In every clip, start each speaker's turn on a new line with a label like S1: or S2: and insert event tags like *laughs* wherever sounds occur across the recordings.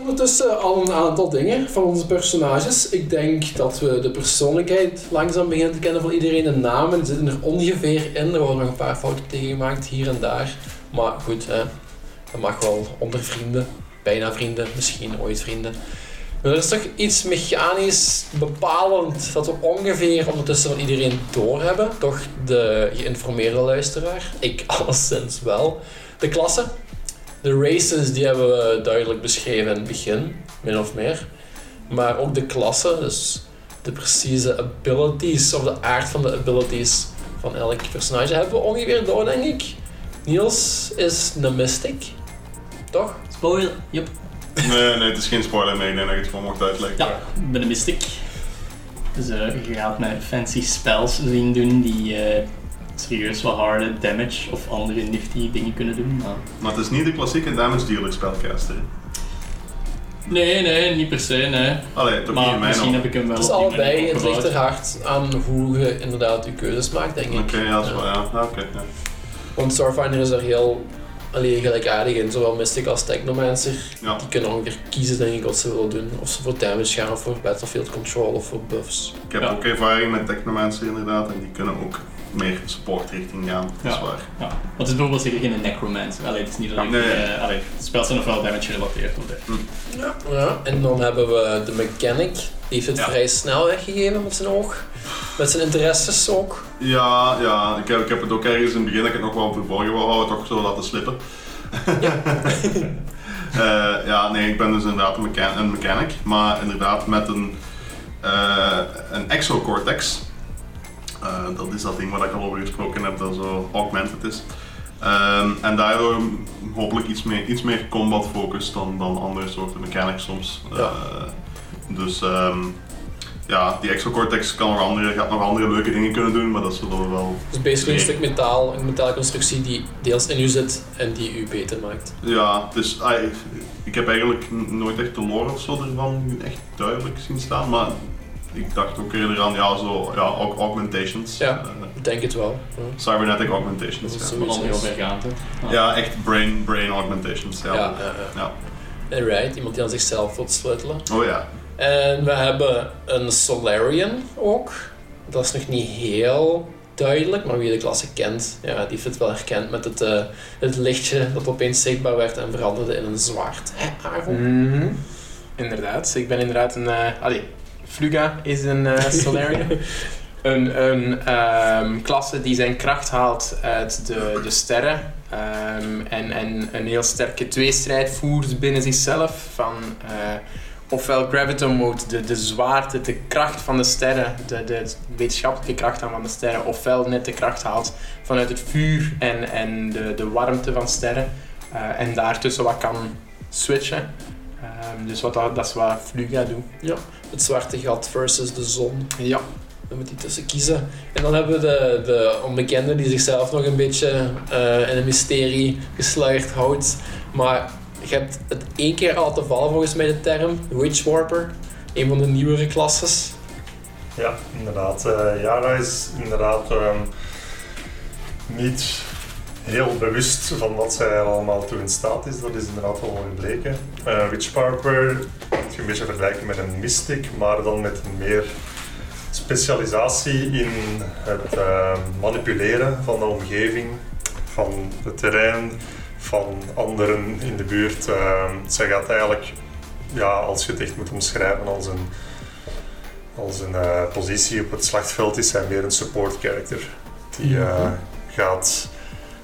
S1: ondertussen al een aantal dingen van onze personages. Ik denk dat we de persoonlijkheid langzaam beginnen te kennen van iedereen. De namen zitten er ongeveer in. Er worden nog een paar fouten tegen gemaakt hier en daar. Maar goed, hè. dat mag wel onder vrienden. Bijna vrienden, misschien ooit vrienden. Maar er is toch iets mechanisch bepalend dat we ongeveer ondertussen van iedereen doorhebben. Toch de geïnformeerde luisteraar, ik *laughs* alleszins wel. De klasse, de races die hebben we duidelijk beschreven in het begin, min of meer. Maar ook de klassen, dus de precieze abilities of de aard van de abilities van elk personage hebben we ongeveer door, denk ik. Niels is een mystic, toch?
S2: Spoiler, yep.
S3: Nee, nee, het is geen spoiler meer. Ik denk dat je het gewoon mocht uitleggen.
S2: Ja, ik ben een mystic. Dus eh, je gaat mij fancy spells zien doen die eh, serieus wat harde damage of andere nifty dingen kunnen doen. Maar...
S3: Maar het is niet de klassieke damage dealer spelcaster. hè?
S2: Nee, nee, niet per se, nee.
S3: Allee, toch niet
S2: Maar
S3: in mijn
S2: misschien
S3: ogen.
S2: heb ik hem wel
S1: Het is
S2: op die manier
S1: allebei, het
S2: opgebouwd.
S1: ligt er hard aan hoe je inderdaad je keuzes maakt, denk ik.
S3: Oké, ja, dat is wel, ja. Ah, Oké, ja.
S1: Want Starfinder is er heel allee, gelijkaardig in, zowel Mystic als Technomancer.
S3: Ja.
S1: Die kunnen ongeveer kiezen, denk ik, wat ze willen doen. Of ze voor damage gaan, of voor battlefield control, of voor buffs.
S3: Ik heb
S2: Ja.
S3: ook ervaring met technomancer inderdaad. En die kunnen ook meer support richting gaan. Dat is
S2: Ja.
S3: waar.
S2: Ja, want het is bijvoorbeeld zeker geen necromancer. Allee, het is niet dat ik...
S3: Ah, Nee.
S2: eh, allee, de spels zijn nog wel damage gerelateerd. of, eh.
S1: Ja. En dan hebben we de Mechanic. Die heeft het
S3: Ja.
S1: vrij snel weggegeven met zijn oog. Met zijn interesses ook.
S3: Ja, ja. Ik heb, ik heb het ook ergens in het begin dat ik het nog wel verborgen wou houden, toch zo laten slippen.
S1: Ja.
S3: Eh, ja, nee, ik ben dus inderdaad een, mechan- een mechanic, maar inderdaad met een, eh, een exocortex. Eh, dat is dat ding waar ik al over gesproken heb, dat zo augmented is. Ehm, en daardoor hopelijk iets meer, iets meer combat focus dan, dan andere soorten mechanics soms.
S1: Ja.
S3: Eh, dus ehm, ja, die exocortex kan nog andere, gaat nog andere leuke dingen kunnen doen, maar dat zullen we wel
S1: Dus basically een
S3: Nee.
S1: stuk metaal, een metaalconstructie die deels in u zit en die u beter maakt.
S3: Ja, dus ik heb eigenlijk n- nooit echt de lore of zo ervan echt duidelijk zien staan, maar ik dacht ook eerder aan ja, zo, ja, aug- augmentations.
S1: Ja.
S3: Eh,
S1: Ik denk het wel. Ja.
S3: cybernetic
S1: Dat is
S3: augmentations. Ja.
S2: Maar dan
S1: zoiets.
S2: heel
S1: is.
S2: vergaand, hè. Ah.
S3: ja, echt brain, brain augmentations. Ja.
S1: Ja, ja, ja.
S3: Ja.
S1: Alright, iemand die aan zichzelf wil sleutelen.
S3: Oh ja.
S1: En we hebben een Solarian ook. Dat is nog niet heel duidelijk, maar wie de klasse kent, ja, die heeft het wel herkend met het, eh, het lichtje dat opeens zichtbaar werd en veranderde in een zwart. Hè, Aaron?
S4: *laughs*
S5: Mhm. Inderdaad, ik ben inderdaad een. eh allee, Fluga is een eh Solarium. een een ehm, klasse die zijn kracht haalt uit de, de sterren. ehm, en, en een heel sterke tweestrijd voert binnen zichzelf. Van, eh, ofwel Graviton Mode, de, de zwaarte, de kracht van de sterren, de, de wetenschappelijke kracht aan van de sterren. Ofwel net de kracht haalt vanuit het vuur en, en de, de warmte van sterren. eh, en daartussen wat kan switchen. Ehm, dus wat dat, dat is wat Fluga doet.
S1: Het zwarte gat versus de zon.
S5: Ja.
S1: We moeten die tussen kiezen. En dan hebben we de, de onbekende die zichzelf nog een beetje eh, in een mysterie gesluierd houdt. Maar je hebt het één keer al te vallen volgens mij de term. Witch Warper. Een van de nieuwere klasses.
S6: Ja, inderdaad. Eh Yara is inderdaad ehm, niet heel bewust van wat zij allemaal toe in staat is. Dat is inderdaad al gebleken. Eh Witch Parker moet je een beetje vergelijken met een mystic, maar dan met meer specialisatie in het eh, manipuleren van de omgeving, van het terrein, van anderen in de buurt. Eh, zij gaat eigenlijk, ja, als je het echt moet omschrijven, als een als een eh, positie op het slagveld is hij meer een support character. Die eh,
S1: Mhm.
S6: gaat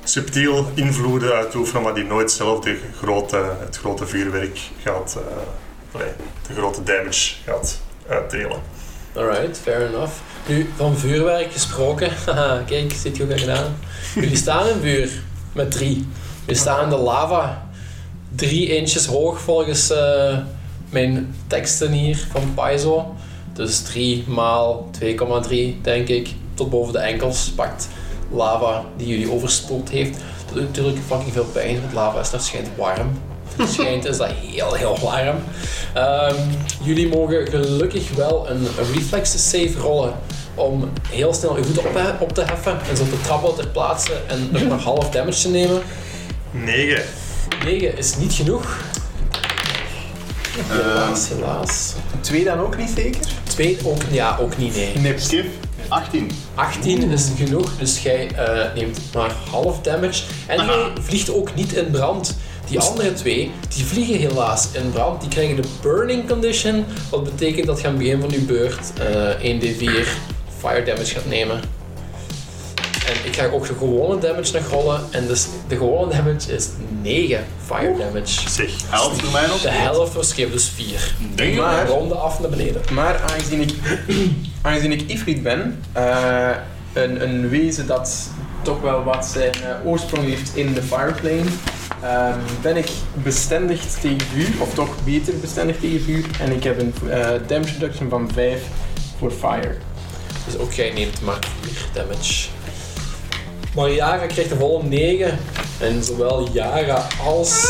S6: subtiel invloeden uitoefenen, maar die nooit zelf de grote, het grote vuurwerk gaat, eh, nee, de grote damage gaat uitdelen.
S1: Alright, fair enough. Nu, van vuurwerk gesproken. *laughs* Haha, Kijk, zit je ook al gedaan. Jullie staan in vuur met drie. Jullie staan in de lava. Drie inches hoog volgens eh, mijn teksten hier van Paizo. Dus 3 maal 2,3 denk ik. Tot boven de enkels pakt lava die jullie overspoeld heeft. Dat doet natuurlijk fucking veel pijn, want lava is naar schijnt warm. Het schijnt is dat heel, heel warm. Ehm, jullie mogen gelukkig wel een reflexe save rollen om heel snel je voeten op, op te heffen en zo te trappelen ter plaatse en nog maar half damage te nemen.
S6: 9.
S1: 9 is niet genoeg.
S3: Ehm
S1: Helaas, helaas.
S5: Twee dan ook niet zeker?
S1: Twee ook, ja, ook niet nee.
S5: Nips.
S3: skip 18.
S1: 18 is genoeg, dus jij eh, neemt maar half damage. En jij vliegt ook niet in brand. Die andere twee, die vliegen helaas in brand. Die krijgen de burning condition, wat betekent dat je aan het begin van je beurt eh 1d4 fire damage gaat nemen. En ik ga ook de gewone damage nog rollen. En dus de gewone damage is 9 fire damage.
S6: Zeg.
S3: Helpt voor mij nog?
S1: De helft was geef dus 4.
S5: Maar-
S1: Ronde af naar beneden.
S5: Maar aangezien ik, *clears throat* aangezien ik Ifrit ben, eh, een, een wezen dat toch wel wat zijn eh, oorsprong heeft in de Fireplane, ehm, ben ik bestendigd tegen vuur, of toch beter bestendigd tegen vuur. En ik heb een eh, damage reduction van 5 voor fire.
S1: Dus ook jij neemt maar 4 damage. Maar Yara krijgt de volle 9. En zowel Yara als.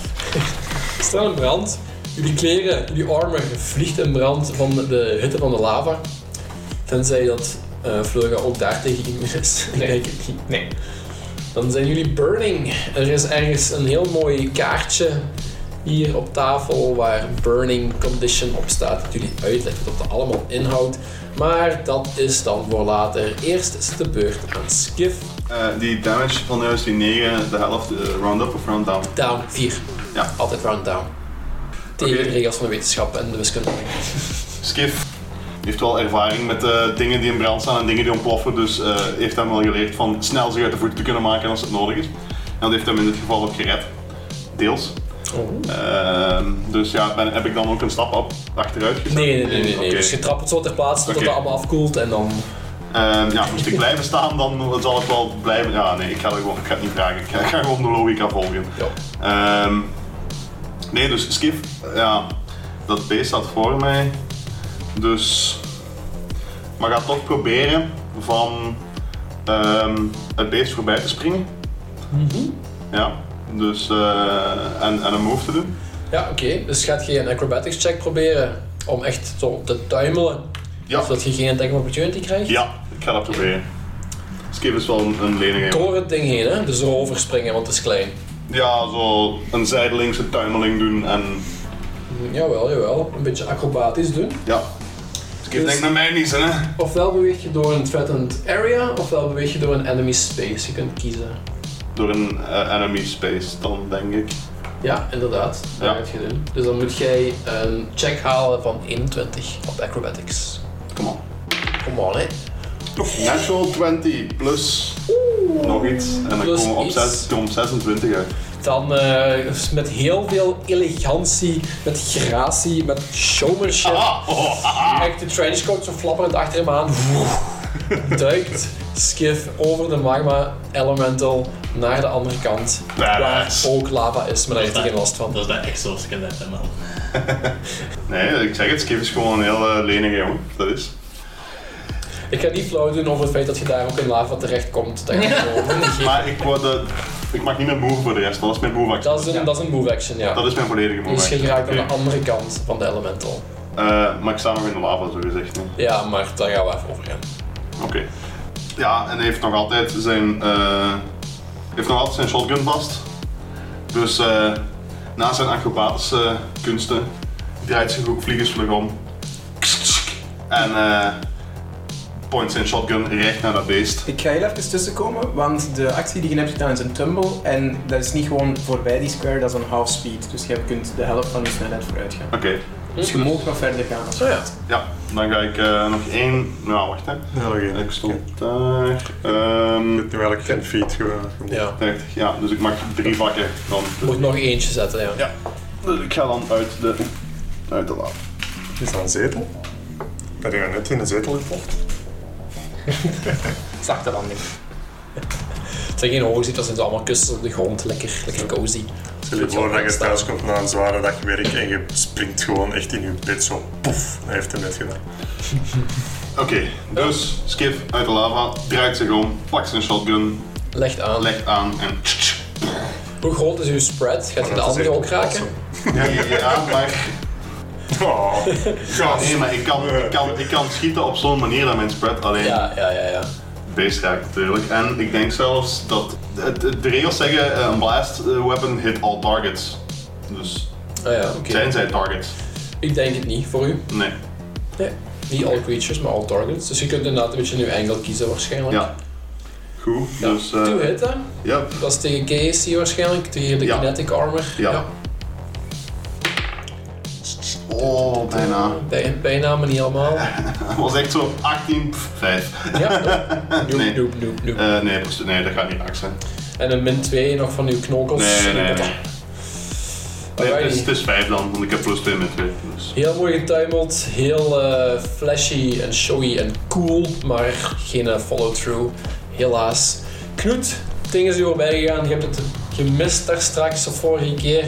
S1: *laughs* Staan in brand. Jullie kleren, jullie armor vliegt in brand van de hitte van de lava. Tenzij dat eh Flora ook daar tegen iemand is. *laughs* Ik
S5: Nee.
S1: denk het niet.
S5: Nee.
S1: Dan zijn jullie burning. Er is ergens een heel mooi kaartje hier op tafel waar burning condition op staat. Dat jullie uitlegt wat dat allemaal inhoudt. Maar dat is dan voor later. Eerst is het de beurt aan Skiff.
S3: Eh, die damage van juist die 9, de helft, eh, round up of round down.
S1: Down 4.
S3: Ja.
S1: Altijd round down. Tegen
S3: Oké.
S1: de regels van de wetenschap en de wiskunde.
S3: Skif heeft wel ervaring met eh, dingen die in brand staan en dingen die ontploffen, dus eh, heeft hem wel geleerd van snel zich uit de voeten te kunnen maken als het nodig is. En dat heeft hem in dit geval ook gered. Deels.
S1: Oh.
S3: Ehm, dus ja, ben, heb ik dan ook een stap op, achteruit gezet?
S1: Nee, nee, nee. nee, nee.
S3: Oké.
S1: Dus je trapt het zo ter plaatse tot
S3: Oké.
S1: het allemaal afkoelt en dan...
S3: Ehm, ja, moest ik blijven staan, dan zal ik wel blijven. Ja, nee, ik ga, er gewoon, ik ga het niet vragen. Ik ga, ik ga gewoon de logica volgen.
S1: Ja.
S3: Ehm, nee, dus Skif, ja, dat beest staat voor mij. Dus. Maar ga toch proberen van ehm, het beest voorbij te springen. Ja, dus. eh, en, en een move te doen.
S1: Ja, oké. Dus gaat je een acrobatics check proberen om echt zo te tuimelen.
S3: Ja.
S1: Zodat je geen attack of opportunity krijgt.
S3: Ja, ik ga dat proberen. Skif is wel een, een lenige.
S1: Door het ding heen, hè? dus erover springen, want het is klein.
S3: Ja, zo een zijdelingse tuimeling doen en.
S1: Jawel, jawel. Een beetje acrobatisch doen.
S3: Ja. Dus- Skip denkt naar mij niet, hè?
S1: Ofwel beweeg je door een threatened area, ofwel beweeg je door een enemy space. Je kunt kiezen.
S3: Door een eh, enemy space dan, denk ik.
S1: Ja, inderdaad. Dat
S3: Ja.
S1: gaat je doen. Dus dan moet jij een check halen van 21 op acrobatics.
S3: Kom op.
S1: Come on, hè.
S3: Natural 20 plus nog iets. En dan
S1: Plus
S3: komen we op,
S1: iets.
S3: zes, komen we op 26 uit.
S1: Dan eh, met heel veel elegantie, met gratie, met showmanship.
S3: Ah.
S1: Ah. Kijk, de trenchcoat zo flapperend achter hem aan. Duikt Skiff over de magma elemental naar de andere kant. Waar
S3: Badass.
S1: ook lava is, maar daar heeft hij geen last van.
S2: Dat is dat exoskelet, hè, man.
S3: Nee, ik zeg het, Skip is gewoon een heel eh, lenige jongen. Dat is.
S1: Ik ga niet flauw doen over het feit dat je daar ook in lava terechtkomt. Dat, gaat gewoon
S3: *laughs*
S1: niet geven.
S3: Maar ik, word, eh, ik mag niet meer move voor de rest, dat is mijn move action.
S1: dat, is, een, dat is een move action, ja.
S3: Dat is mijn volledige move
S1: Dus je
S3: action.
S1: geraakt aan
S3: Oké.
S1: de andere kant van de elemental.
S3: Eh, maar ik sta nog in de lava, zo gezegd. nee.
S1: Ja, maar daar gaan we even over gaan.
S3: Oké. Ja, en hij heeft nog altijd zijn, eh, heeft nog altijd zijn shotgun vast. Dus eh, na zijn acrobatische kunsten draait zich ook vliegensvlug om. En eh point zijn shotgun recht naar dat beest.
S5: Ik ga heel even tussenkomen, want de actie die je hebt gedaan is een tumble. En dat is niet gewoon voorbij die square, dat is een half speed. Dus je kunt de helft van je snelheid vooruit gaan.
S3: Oké,
S5: Dus je mag nog verder gaan.
S1: Zo ja.
S3: ja. Dan ga ik eh, nog één... Nou, wacht hè.
S6: Ja, nog één.
S3: Ik
S6: Ik
S3: stond daar... Ehm
S6: weet nu welk feed gewoon.
S1: ja.
S3: 30, ja. Dus ik maak drie vakken dan.
S1: Je moet nog eentje zetten, ja.
S3: Dus ik ga dan uit de... Uit de lab.
S6: Is dat een zetel? Ben je net in een zetel gekocht?
S5: Zag dat dan niet.
S1: Het zijn geen hoogziet, dat zijn allemaal kussens op de grond. Lekker, lekker cozy.
S6: Stel je voor dat je thuis komt na een zware dag werk en je springt gewoon echt in je bed zo poef. Hij heeft het net gedaan.
S3: Oké, dus Skif uit de lava, draait zich om, pakt zijn shotgun,
S1: Legt aan.
S3: legt aan en...
S1: Hoe groot is uw spread? Gaat je de
S6: Dat is
S1: andere
S6: echt
S1: ook raken?
S6: awesome.
S3: Ja, ja, ja, maar...
S6: Oh,
S3: Ja, nee, maar ik kan, ik kan, ik kan schieten op zo'n manier dat mijn spread alleen
S1: Ja, ja, ja, ja.
S3: beest raakt natuurlijk. En ik denk zelfs dat... het- het- De regels zeggen, eh, een blast eh, weapon hit all targets. Dus
S1: Ah ja, oké.
S3: Zijn zij targets?
S1: Ik denk het niet voor u.
S3: Nee.
S1: Niet all creatures, maar all targets. Dus je kunt inderdaad een beetje een angle kiezen waarschijnlijk.
S3: Ja. Goed,
S1: Ja.
S3: dus... eh,
S1: Two hit, hè?
S3: ja,
S1: Dat is tegen KSC waarschijnlijk, tegen de
S3: Ja.
S1: kinetic armor.
S3: ja. Oh, bijna.
S1: Bij, bijna, maar niet
S3: *laughs*
S1: allemaal.
S3: Dat was echt zo 18, pff, 5.
S1: Ja, noep,
S3: Nee.
S1: noep, noep, noep.
S3: Eh, nee, pers- nee, dat gaat niet raak zijn.
S5: Oh
S1: En een min 2 nog van uw knokkels.
S3: Nee, nee, nee. Nee, dus
S1: Alrighty.
S3: het, is, het is 5 dan, want ik heb plus 2 met 2. Dus.
S1: Heel mooi getimed, heel eh, flashy en showy en cool, maar geen eh, follow-through, helaas. Knut, het ding is u voorbij gegaan. Je hebt het gemist daar straks de vorige keer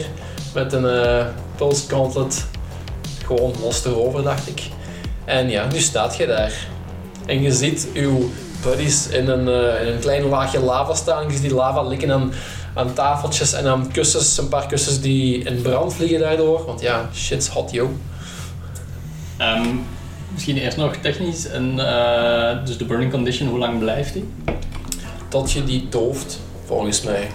S1: met een eh pulse gauntlet. Gewoon los erover, dacht ik. En ja, nu staat je daar. En je ziet uw buddies in een, eh, in een klein laagje lava staan. Je ziet die lava likken aan, aan tafeltjes en aan kussens. Een paar kussens die in brand vliegen daardoor. Want ja, shit's hot, yo.
S2: Ehm, misschien eerst nog technisch. En, eh, dus de burning condition, hoe lang blijft die?
S1: dat je die dooft, volgens mij.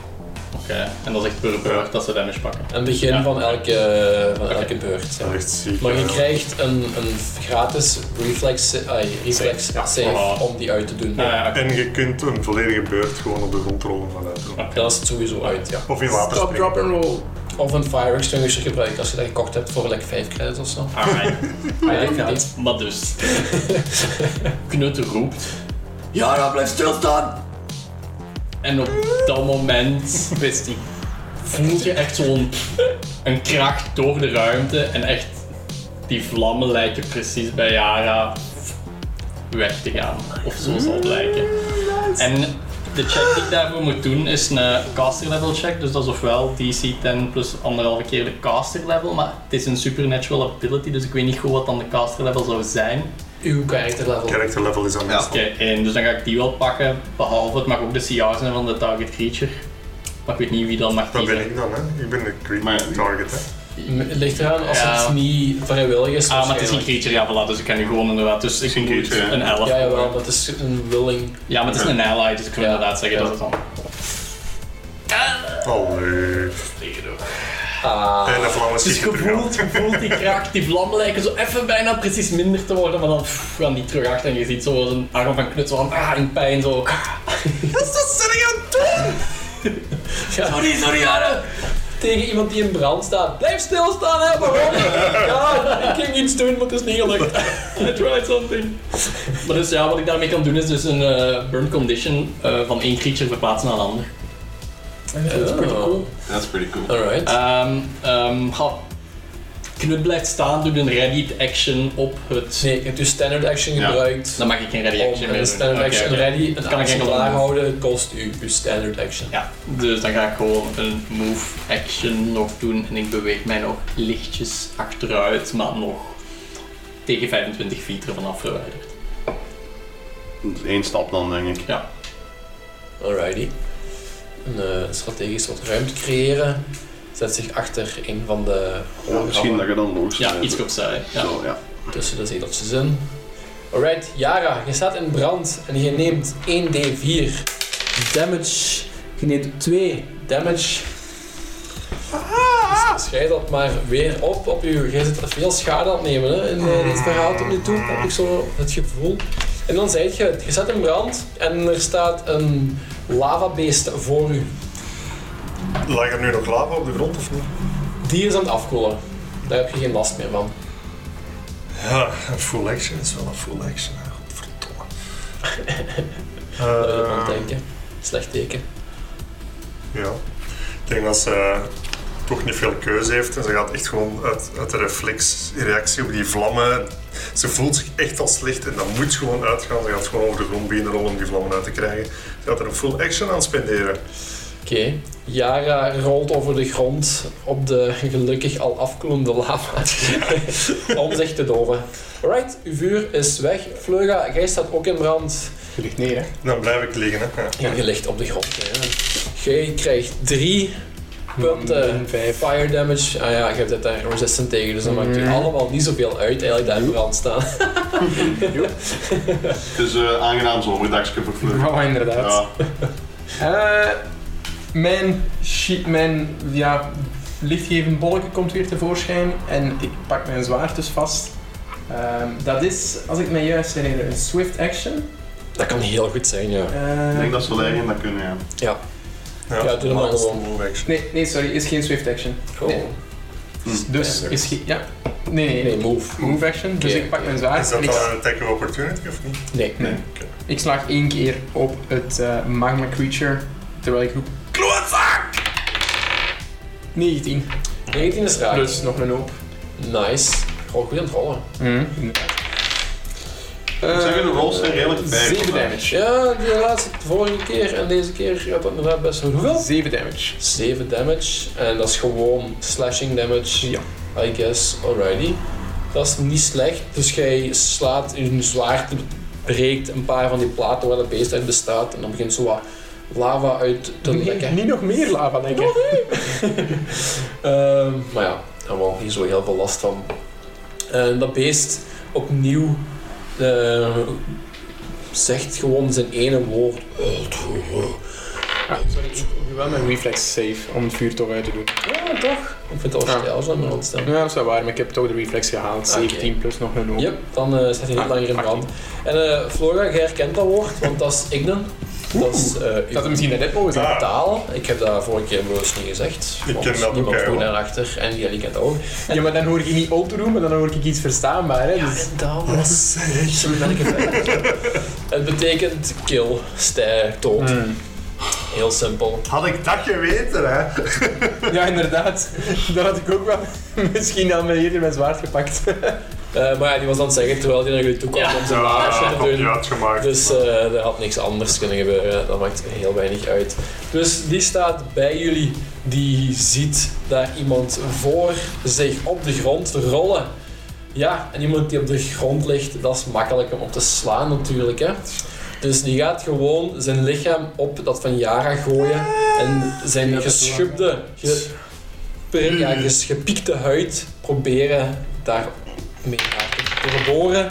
S2: Oké, en dat is echt per beurt dat ze damage pakken.
S1: Aan het begin
S2: Ja.
S1: van elke, van
S2: Oké.
S1: elke beurt. ja.
S6: Dat is echt ziek.
S1: Maar je
S6: ja.
S1: krijgt een, een gratis reflex, ai, reflex
S6: Save, ja.
S1: save
S2: Voilà.
S1: om die uit te doen.
S2: Ah, ja, oké.
S6: En je kunt een volledige beurt gewoon op de controle vanuit doen.
S1: Dan is het sowieso uit, ja.
S6: Of in water
S5: Stop,
S6: springen.
S5: drop and roll.
S1: Of een fire extinguisher gebruiken als je dat gekocht hebt voor like 5 credits of
S2: Ah,
S1: zo.
S2: Alright.
S1: Ja,
S2: Alright, gaat. Maar dus. Knut roept. Yara, blijf stilstaan! En op dat moment
S5: Wist die.
S2: voel je echt zo'n een kracht door de ruimte en echt die vlammen lijken precies bij Yara weg te gaan. Of zo zal het lijken. En de check die ik daarvoor moet doen is een caster level check. Dus dat is ofwel DC 10 plus anderhalve keer de caster level. Maar het is een supernatural ability, dus ik weet niet goed wat dan de caster level zou zijn.
S1: Uw character level.
S6: Character level is aan
S3: Ja.
S2: Oké, en dus dan ga ik die wel pakken. Behalve het mag ook de CR zijn van de target creature. Maar ik weet niet wie dan mag
S6: Dat
S2: kiezen.
S6: ben ik dan, hè? Ik ben de creep
S3: Maar-
S6: target, hè?
S1: M- Het ligt eraan als
S2: Ja.
S1: het niet vrijwillig is.
S2: Ah, maar het is een
S1: waarschijnlijk.
S2: creature, ja, voilà, dus ik kan nu gewoon inderdaad. Dus ik
S3: een
S2: moet
S3: creature, ja.
S2: een 11.
S1: Ja, jawel, maar het is een willing.
S2: Ja, maar het is een ally, dus ik wil
S1: Ja.
S2: inderdaad zeggen
S1: Ja.
S2: dat het dan.
S6: Oh, Allee.
S1: Ah,
S6: En de vlammen
S2: Dus
S6: schieten
S2: je
S6: terug aan.
S2: voelt, je voelt die kracht, die vlammen lijken zo even bijna precies minder te worden, maar dan pff, gaan die terug achter en je ziet zo een arm van knutsel aan, ah, in pijn zo.
S1: ja,
S2: Sorry, sorry, Jaren!
S1: tegen iemand die in brand staat. Blijf stilstaan, hè,
S2: *laughs*
S1: waarom? Ja, ik ging iets doen, maar het is niet gelukt.
S2: I tried something. Maar dus ja, wat ik daarmee kan doen is dus een eh, burn condition eh, van één creature verplaatsen naar een ander.
S1: Dat is pretty cool.
S3: That's pretty cool.
S1: Alright.
S2: Ehm ehm, ga. Knut blijft staan, doet een ready action op het...
S1: Nee, je hebt je dus standard action
S3: Ja.
S1: gebruikt.
S2: Dan mag ik geen ready
S1: Om
S2: action meer
S1: een
S2: doen.
S1: standard
S2: Oké,
S1: action
S2: oké. Nou,
S1: ready, een
S2: kan ik
S1: actie
S2: enkel doen.
S1: klaarhouden, kost u uw standard action.
S2: Ja, dus dan ga ik gewoon een move action nog doen en ik beweeg mij nog lichtjes achteruit, maar nog tegen 25 feet ervan af verwijderd.
S3: Eén stap dan, denk ik.
S1: Alrighty. Een eh, strategisch wat ruimte creëren. Zet zich achter een van de
S3: Ja, misschien dat je dan logisch
S2: Ja, iets opzij. Ja.
S3: Zo, ja.
S1: tussen de zeteltjes in. Alright, Yara, je staat in brand en je neemt 1d4 damage. Je neemt 2 damage. Dus schrijf dat maar weer op op je. Jij zit er veel schade aan het nemen hè, in eh, dit verhaal tot nu toe, heb ik zo het gevoel. En dan zei je, het, je staat in brand en er staat een lavabeest voor u.
S6: Lag er nu nog lava op de grond of niet?
S1: Die is aan het afkoelen. Daar heb je geen last meer van.
S6: Ja, een full action is wel een full action. hè.
S1: *laughs*
S6: Godverdomme.
S1: Dat
S6: Eh,
S1: wil ik
S6: Ah.
S1: wel denken. Slecht teken.
S6: ja. Ik denk dat ze eh, toch niet veel keuze heeft en ze gaat echt gewoon uit, uit de reflex, reactie op die vlammen. Ze voelt zich echt al slecht en dat moet gewoon uitgaan. Ze gaat gewoon over de grond beginnen rollen om die vlammen uit te krijgen. Ze gaat er een full action aan spenderen.
S1: Oké, Yara rolt over de grond op de gelukkig al afkoelende *laughs* lava om zich te doven. Alright, uw vuur is weg. Fleuga, jij staat ook in brand.
S5: Je ligt neer, hè?
S6: Dan blijf ik liggen. Hè. Ja.
S1: En je ligt op de grond. hè. Jij krijgt drie punten
S5: Min vijf.
S1: fire damage. Ah ja, je hebt het daar resistant tegen, dus dat maakt u
S5: Mm.
S1: allemaal niet zoveel uit eigenlijk dat in brand staan.
S3: Het is een aangenaam zomerdagje voor Fleur.
S5: Ja, inderdaad.
S3: Ja.
S5: Eh, mijn, shi- mijn ja, lichtgevend bolletje komt weer tevoorschijn en ik pak mijn zwaard dus vast. Ehm, dat is, als ik me juist herinner, een swift action.
S1: Dat kan heel goed zijn, ja.
S5: Ehm,
S3: Ik denk dat Solarium dat kunnen, ja.
S1: Ja, doe hem maar
S6: maar
S1: gewoon.
S6: move action.
S5: Nee, nee, sorry, is geen swift action.
S1: Oh,
S5: Nee. Dus
S3: Hm.
S1: Ja,
S5: is geen. Ja. Nee, nee,
S1: Nee,
S5: nee.
S1: move.
S5: Move action, dus
S1: Hm. Oké.
S5: ik pak mijn
S6: Is
S3: Ah,
S5: zwaard
S6: dat
S5: en ik,
S6: dan een attack of opportunity of niet?
S1: Nee.
S5: Nee.
S6: Oké.
S5: ik slaag één keer op het eh, magma creature terwijl ik roep. Klootzak! 19.
S1: 19 is raak.
S3: Dus-
S5: Plus nog een hoop.
S1: Nice. Gewoon goed aan het rollen.
S5: Eh, inderdaad.
S3: Ik
S5: Eh,
S3: zeg, de rolls zijn redelijk bij.
S5: 7 damage.
S1: Ja, de laatste de vorige keer en deze keer gaat dat inderdaad best goed. Hoeveel?
S5: 7 damage.
S1: 7 damage. En dat is gewoon slashing damage.
S5: Ja.
S1: I guess, alrighty. Dat is niet slecht. Dus jij slaat je zwaard, breekt een paar van die platen waar dat beest uit bestaat. En dan begint zo wat lava uit te lekken.
S5: niet nog meer lava, denk ik.
S1: Ehm, maar ja, daar wou ik niet zo heel veel last van. En dat beest opnieuw eh, zegt gewoon zijn ene woord.
S5: Ah, sorry, ik doe wel mijn reflex save om het vuur toch uit te doen.
S1: Ja, toch? Ik vind het wel
S5: Ah.
S1: stijl, als dat maar ontstaan.
S5: Ja, dat is wel waar, maar ik heb toch de reflex gehaald.
S1: Oké.
S5: 17 plus nog een hoop.
S1: Yep, dan eh staat hij niet
S5: Ah,
S1: langer in
S5: fuck
S1: brand. En eh, Flora, jij herkent dat woord, want dat is Ignan. Dat is eh,
S5: Ik
S1: uw
S5: had hem misschien net mogen zijn.
S6: Ah.
S1: taal. Ik heb dat vorige keer bewust niet gezegd.
S6: Ik
S1: want
S6: ken dat ook,
S1: Niemand
S6: hè,
S1: vroeg
S6: hoor.
S1: daarachter en jullie kent dat ook.
S5: Ja, maar dan hoor ik je niet op te doen, maar dan hoor ik iets verstaanbaar. Hè? Dus...
S1: dat was... Zo ben ik het. Het betekent kill, stij, dood.
S5: Hmm.
S1: Heel simpel.
S3: Had ik dat geweten, hè?
S5: Ja, inderdaad. *laughs* Dat had ik ook wel *laughs* misschien al met eerder mijn zwaard gepakt.
S1: Eh, maar ja, die was aan het zeggen terwijl hij naar jullie toe kwam om zijn baasje
S6: Ja,
S1: te doen.
S6: kopje uitgemaakt.
S1: Dus eh, er had niks anders kunnen gebeuren. Dat maakt heel weinig uit. Dus die staat bij jullie. Die ziet daar iemand voor zich op de grond rollen. Ja, en iemand die op de grond ligt, dat is makkelijk om op te slaan natuurlijk. Hè? Dus die gaat gewoon zijn lichaam op dat van Yara gooien. En zijn geschubde, ge, per- ja, ges- gepiekte huid proberen daar mee te doorboren.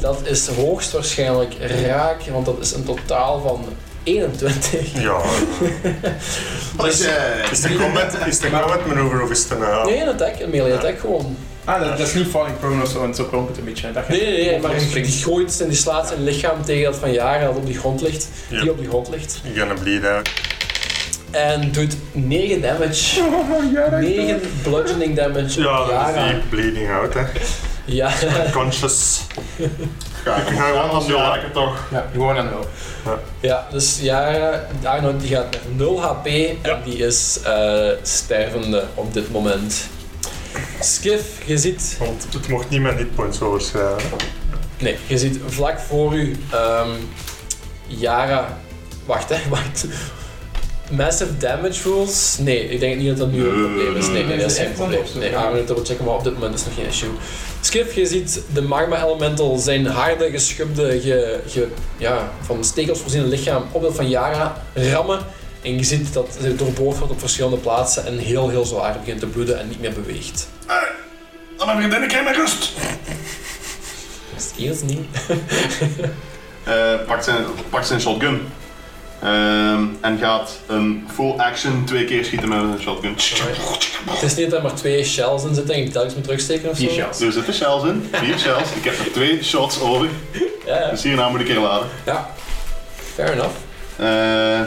S1: Dat is hoogstwaarschijnlijk raak, want dat is een totaal van 21.
S6: Ja,
S3: Blessed.
S6: is de combat, is de combat maneuver of is het een... eh,
S1: Nee, een attack, een melee attack gewoon.
S5: Ah, *laughs* dat, dat is niet falling prone of zo, want zo klonk het een beetje. hè. Dat je
S1: Nee, nee, nee, maar die
S5: springt.
S1: gooit en die slaat zijn lichaam tegen dat van Jaren dat op de grond ligt.
S6: Ja.
S1: Die op de grond ligt.
S6: You're gonna bleed out.
S1: En doet 9 damage.
S5: Oh, ja, dat-
S1: 9 bludgeoning damage
S6: Ja,
S1: op
S6: dat is
S1: Yara.
S6: die bleeding out, hè.
S1: Ja,
S6: Conscious.
S3: Ga
S6: Ik ga gewoon als
S3: anders
S6: je
S3: doen.
S6: laken toch.
S5: Ja, gewoon aan wel.
S1: ja, dus Jara, Arnold die gaat naar 0 HP en die is eh, stervende op dit moment. Skiff, je ziet
S6: Want het mocht niet met hitpoints overschrijden.
S1: Nee, je ziet vlak voor u ehm Yara. Wacht, hè, *laughs* wacht. Massive damage rules? Nee, ik denk niet dat dat nu een
S3: Nee,
S1: probleem is. Nee, nee,
S5: nee,
S1: dat is
S5: nee,
S1: geen
S5: nee,
S1: probleem.
S5: nee, nee.
S1: Nee, Aaron, dat checken, maar op dit moment is nog geen issue. Skif, je ziet de magma elemental, zijn harde, geschubde, ge, ge- ja, van stekels voorziene lichaam op dat van Yara rammen. En je ziet dat ze doorboord wordt op verschillende plaatsen en heel, heel zwaar begint te bloeden en niet meer beweegt.
S3: Dan Ah, mijn vriendin, ik heb mijn rust.
S1: Is het eerst niet?
S3: *laughs* Eh, pakt, zijn, pakt zijn shotgun. Ehm, en gaat een full action twee keer schieten met een shotgun.
S1: Het is niet dat er maar twee shells in zitten en je telkens moet terugsteken of zo.
S5: Vier shells.
S3: Er zitten shells in, vier shells. Ik heb er twee shots over,
S1: Ja, ja.
S3: dus hierna moet ik herladen.
S1: Ja, fair enough.
S3: Eh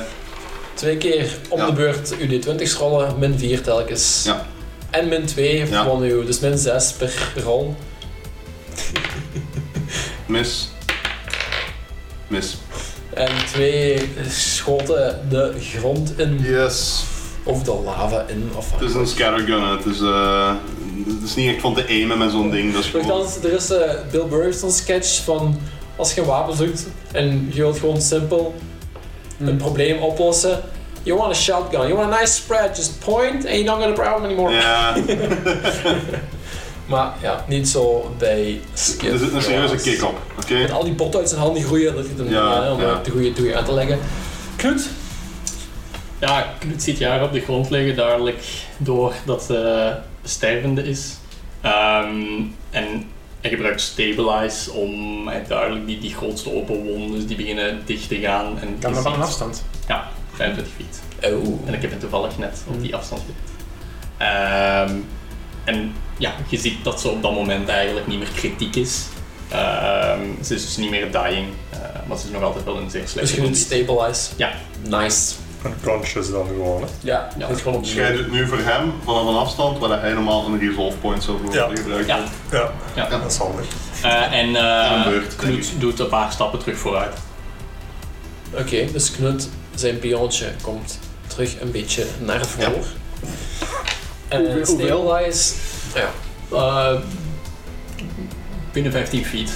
S1: Twee keer om
S3: Ja.
S1: de beurt UD20 rollen, min 4 telkens.
S3: Ja.
S1: En min 2
S3: Ja.
S1: van uw, dus min 6 per rol.
S3: mis. Mis.
S1: En twee schoten de grond in,
S3: Yes.
S1: of de lava in, of wat.
S3: Het is een scattergun, hè. het is, eh, het is niet echt van te aimen met zo'n ding. Dat is gewoon...
S1: Nochtans, er is eh Bill Burriston sketch van als je een wapen zoekt en je wilt gewoon simpel
S3: Hmm.
S5: Mm.
S1: een probleem oplossen. You want a shotgun, you want a nice spread, just point and you're not gonna problem anymore.
S2: *laughs*
S3: Ja,
S1: Maar ja, niet zo bij Skip.
S3: er zit een serieuze
S1: Ross.
S3: kick op, oké?
S1: En al die botten uit zijn handen groeien, dat je dan eh,
S3: Ja,
S1: om
S3: ja.
S1: het de goede doei aan te leggen. Knut,
S2: Ja, Knut ziet Jara op de grond liggen, duidelijk door dat ze stervende is. Ehm, en hij gebruikt Stabilize om hij duidelijk die, die grootste open wondes die beginnen dicht te gaan. En
S5: Kan
S2: je
S5: maar van
S2: ziet-
S5: een afstand.
S2: Ja, 25 feet.
S1: oh,
S5: Mm.
S2: En ik heb hem toevallig net op die afstand gezet. Ehm, en ja, je ziet dat ze op dat moment eigenlijk niet meer kritiek is. Ehm, ze is dus niet meer dying, eh, maar ze is nog altijd wel een zeer
S1: Dus
S2: slechte
S1: je doet
S2: conditie.
S1: stabilize.
S2: Ja.
S1: Nice.
S6: Unconscious dan gewoon. Hè.
S1: Ja,
S2: Ja.
S1: dat is gewoon op
S3: Dus jij doet nu voor hem vanaf een afstand waar hij normaal een resolve point zou voor
S6: Ja.
S3: willen gebruiken.
S2: Ja,
S6: Ja,
S2: Ja.
S6: dat is handig.
S2: eh, en
S3: Aan
S2: eh
S3: de beurt, denk
S2: Knut doet een paar stappen terug vooruit.
S1: Oké, dus Knut, zijn pionnetje komt terug een beetje naar voren. En
S5: Hoeveel-
S1: stabilize. Ja.
S2: Eh, binnen 15 feet.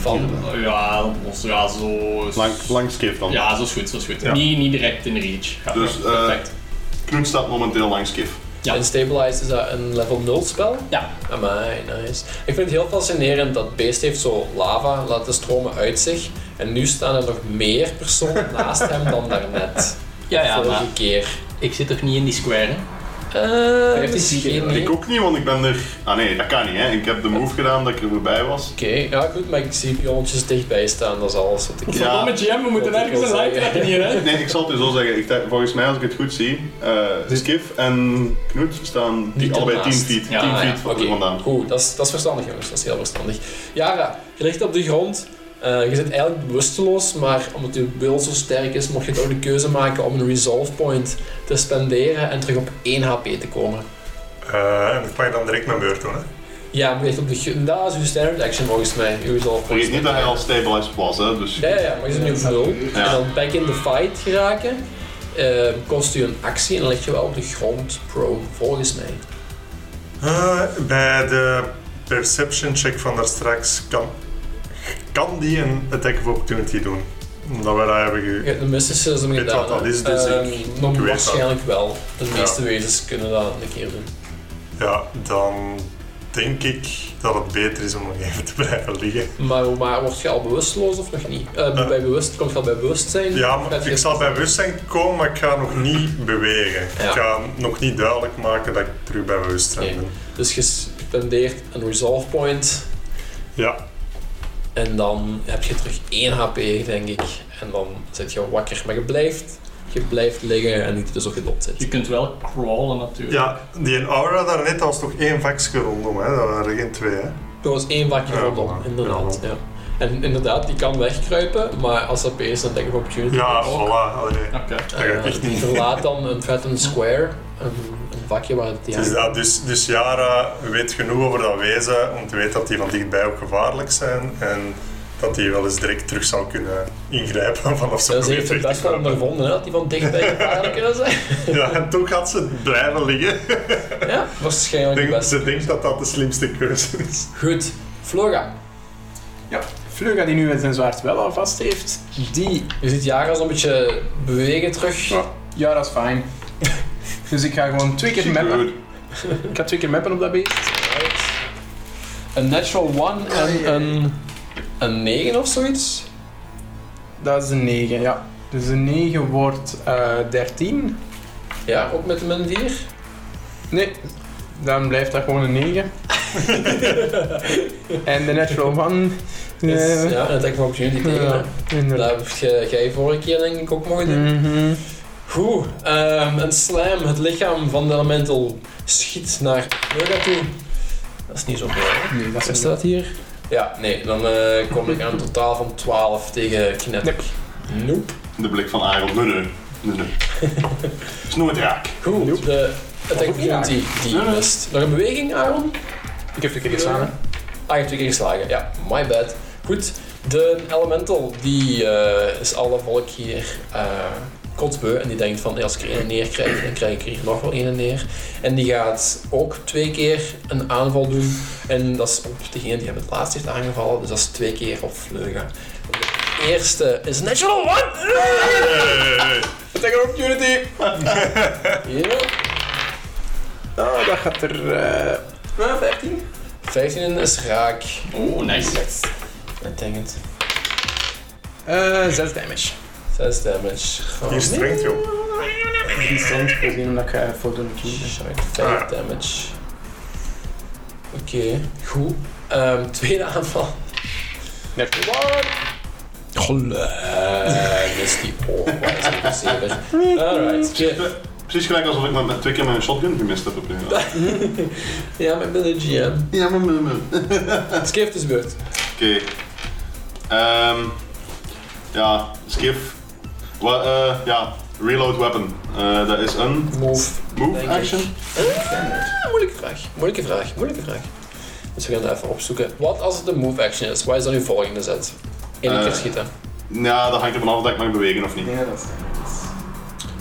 S1: Van.
S2: Ja, ons ja, zo.
S3: Lang, langs Kif dan.
S2: Ja, zo is goed, zo is goed.
S6: Ja.
S2: Niet, niet direct in reach. Ja,
S3: Dus, eh,
S2: perfect.
S3: Knut staat momenteel langs Kif.
S2: Ja.
S1: En Stabilize is dat een level 0 spel?
S2: Ja.
S1: Amai, nice. Ik vind het heel fascinerend dat Beest heeft zo lava laten stromen uit zich. En nu staan er nog meer personen naast hem dan daarnet.
S2: Ja, ja,
S1: Vorige
S2: maar
S1: keer.
S2: ik zit toch niet in die square? hè?
S1: Eh,
S5: heeft die
S1: misschien
S5: zieken,
S1: niet.
S3: Ik
S1: Oké,
S3: ook niet, want ik ben er... Ah nee, dat kan niet hè. Ik heb de move gedaan dat ik er voorbij was.
S1: ja goed, maar ik zie pionnetjes dichtbij staan, dat is alles wat ik...
S3: Ja.
S2: Verdomme GM, we moeten
S1: Dat
S2: ergens
S1: wil
S2: een
S1: zeggen.
S2: like trekken hier, hè?
S3: Nee, ik zal het je zo zeggen. Ik, denk- volgens mij, als ik het goed zie, eh Kif en Knut staan die
S1: Niet
S3: allebei 10
S1: ernaast.
S3: feet,
S2: Ja,
S3: 10
S2: ja,
S3: feet van
S1: Oké,
S3: er vandaan.
S1: Goed, dat is, dat is verstandig jongens, dat is heel verstandig. Yara, je ligt op de grond. Eh, je zit eigenlijk bewusteloos, maar omdat je wil zo sterk is, mocht je toch de keuze maken om een resolve point te spenderen en terug op 1 HP te komen.
S6: Eh, en dat kan je dan direct mijn beurt doen. Hè.
S1: Ja, maar je ligt op de grond. Dat is uw standard action volgens mij, je resolve point.
S3: Vergeet niet dat hij al stabilized was, hè. Dus
S1: Ja, ja, ja, maar je zit nu op 0.
S3: Ja.
S1: En dan back in the fight geraken, eh, kost je een actie en dan lig je wel op de grond pro, volgens mij.
S6: Eh, bij de perception check van daar straks kan, kan die een attack of opportunity doen. Omdat we dat hebben ge...
S1: Je hebt een mysticism
S6: weet
S1: gedaan.
S6: wat dat
S1: hè?
S6: is, dus ik-
S1: Ehm,
S6: ik
S1: dan
S6: weet dat.
S1: waarschijnlijk wel. De
S6: Ja.
S1: meeste wezens kunnen dat een keer doen.
S6: Ja, dan denk ik dat het beter is om nog even te blijven liggen.
S1: Maar, maar word je al bewusteloos of nog niet? Eh,
S6: Eh.
S1: bij bewust, komt je al bij bewustzijn?
S6: Ja,
S1: Of heb
S6: maar
S1: je-
S6: ik zal bij bewustzijn komen, maar ik ga nog niet bewegen.
S1: Ja.
S6: Ik ga nog niet duidelijk maken dat ik terug bij bewustzijn
S1: Oké.
S6: ben.
S1: Dus je spendeert een resolve point
S6: Ja,
S1: en dan heb je terug 1 HP, denk ik. En dan zit je wakker, maar je blijft, je blijft liggen en niet dus ook gedopt zit.
S2: Je kunt wel crawlen natuurlijk.
S6: ja die aura daarnet, dat was toch één vakje rondom, hè? dat waren er geen twee. Hè?
S1: Er was één vakje
S6: Ja,
S1: rondom,
S6: voilà.
S1: inderdaad. Ja. En inderdaad, die kan wegkruipen, maar als dat is, dan denk ik opportunity.
S6: Ja,
S1: ook.
S6: voilà. allee.
S2: Oké.
S6: Dat gaat echt
S1: Eh,
S6: niet.
S1: Verlaat dan een Fratton Square, een, een vakje waar het ja,
S6: Dus, dat, dus, dus Yara weet genoeg over dat wezen om te weten dat die van dichtbij ook gevaarlijk zijn en dat die wel eens direct terug zou kunnen ingrijpen vanaf zo'n
S1: Ze heeft het
S6: terug
S1: best wel
S6: te
S1: ondervonden, hè, dat die van dichtbij gevaarlijk kunnen zijn.
S6: *laughs* komen. Ja, en toch gaat ze blijven liggen.
S1: Ja, waarschijnlijk
S6: Denk-
S1: best.
S6: ze denkt dat dat de slimste keuze is.
S1: Goed, Flora.
S5: Fluga die nu zijn zwaard wel al vast heeft, die...
S1: Je ziet Jara zo'n beetje bewegen terug.
S5: Ja, ja dat is fijn. *laughs* dus ik ga gewoon twee keer mappen. Ik ga twee keer mappen op dat beest.
S1: Een natural one en een, een 9 of zoiets.
S5: Dat is een 9, ja. Dus een 9 wordt eh 13.
S1: Ja, ook met een 4.
S5: Nee, dan blijft dat gewoon een *laughs* 9. en de natural one... eh,
S1: ja, en dat ik van opportunity tegen.
S5: ja,
S1: hè.
S5: inderdaad.
S1: Dat heb je- jij vorige keer denk ik ook mogen doen.
S5: Mhm.
S1: Goed, ehm, een slam, het lichaam van de elemental, schiet naar Flora toe. Dat is niet zo mooi. hè?
S5: Nee, dat
S1: Wat
S5: is
S1: staat hier? Ja, nee, dan eh, kom ik aan een totaal van 12 tegen Kinetic. Nope.
S3: de blik van Iron. Nee, nee. nee, nee. is nooit raak.
S1: Goed, de attack
S5: Of niet
S1: opportunity die
S3: Nee, nee.
S1: mist. Nog een beweging, Aaron?
S5: Ik heb twee keer geslagen.
S1: Ah, je hebt twee keer geslagen. Ja, my bad. Goed, de elemental die eh, is alle volk hier eh kotsbeu en die denkt van hey, als ik er een neer krijg, dan krijg ik er hier nog wel een neer. En die gaat ook twee keer een aanval doen en dat is op degene die hem het laatst heeft aangevallen, dus dat is twee keer op vleugen. De eerste is natural one!
S6: Hey.
S5: Attack of opportunity!
S1: Ja.
S5: Oh, dat gaat er... eh, ah, 15?
S1: 15 is raak.
S2: Oh, nice.
S1: Ik denk het.
S5: Eh 6 damage.
S1: 6 damage. Gewoon.
S6: Hier strengt, joh.
S5: Die stand gezien omdat ik eh, voor de kies.
S1: Shite, 5 Dus damage. Oké, goed. Ehm, tweede aanval.
S5: Natural
S1: Gelukkig. is die oh, wat is het zeker. Alright. Je,
S3: Precies gelijk alsof ik met, met twee keer mijn shotgun gemist heb op een Oké,
S1: Ja, maar ik ben een GM.
S3: ja, maar- maar- maar.
S1: Het Skip is beurt.
S3: Oké. Ehm, ja, skip. Wa- eh, ja, reload weapon. Eh, dat is een
S1: Move.
S3: move
S1: Denk ik.
S3: action.
S1: Ah, moeilijke vraag. Moeilijke vraag. Moeilijke vraag. Dus we gaan dat even opzoeken. Wat als het een move action is? Wat is dan uw volgende zet? Eén
S3: Eh.
S1: keer schieten.
S3: Ja, dat hangt ervan af of dat ik mag bewegen of niet.
S4: denk dat dat sterk is.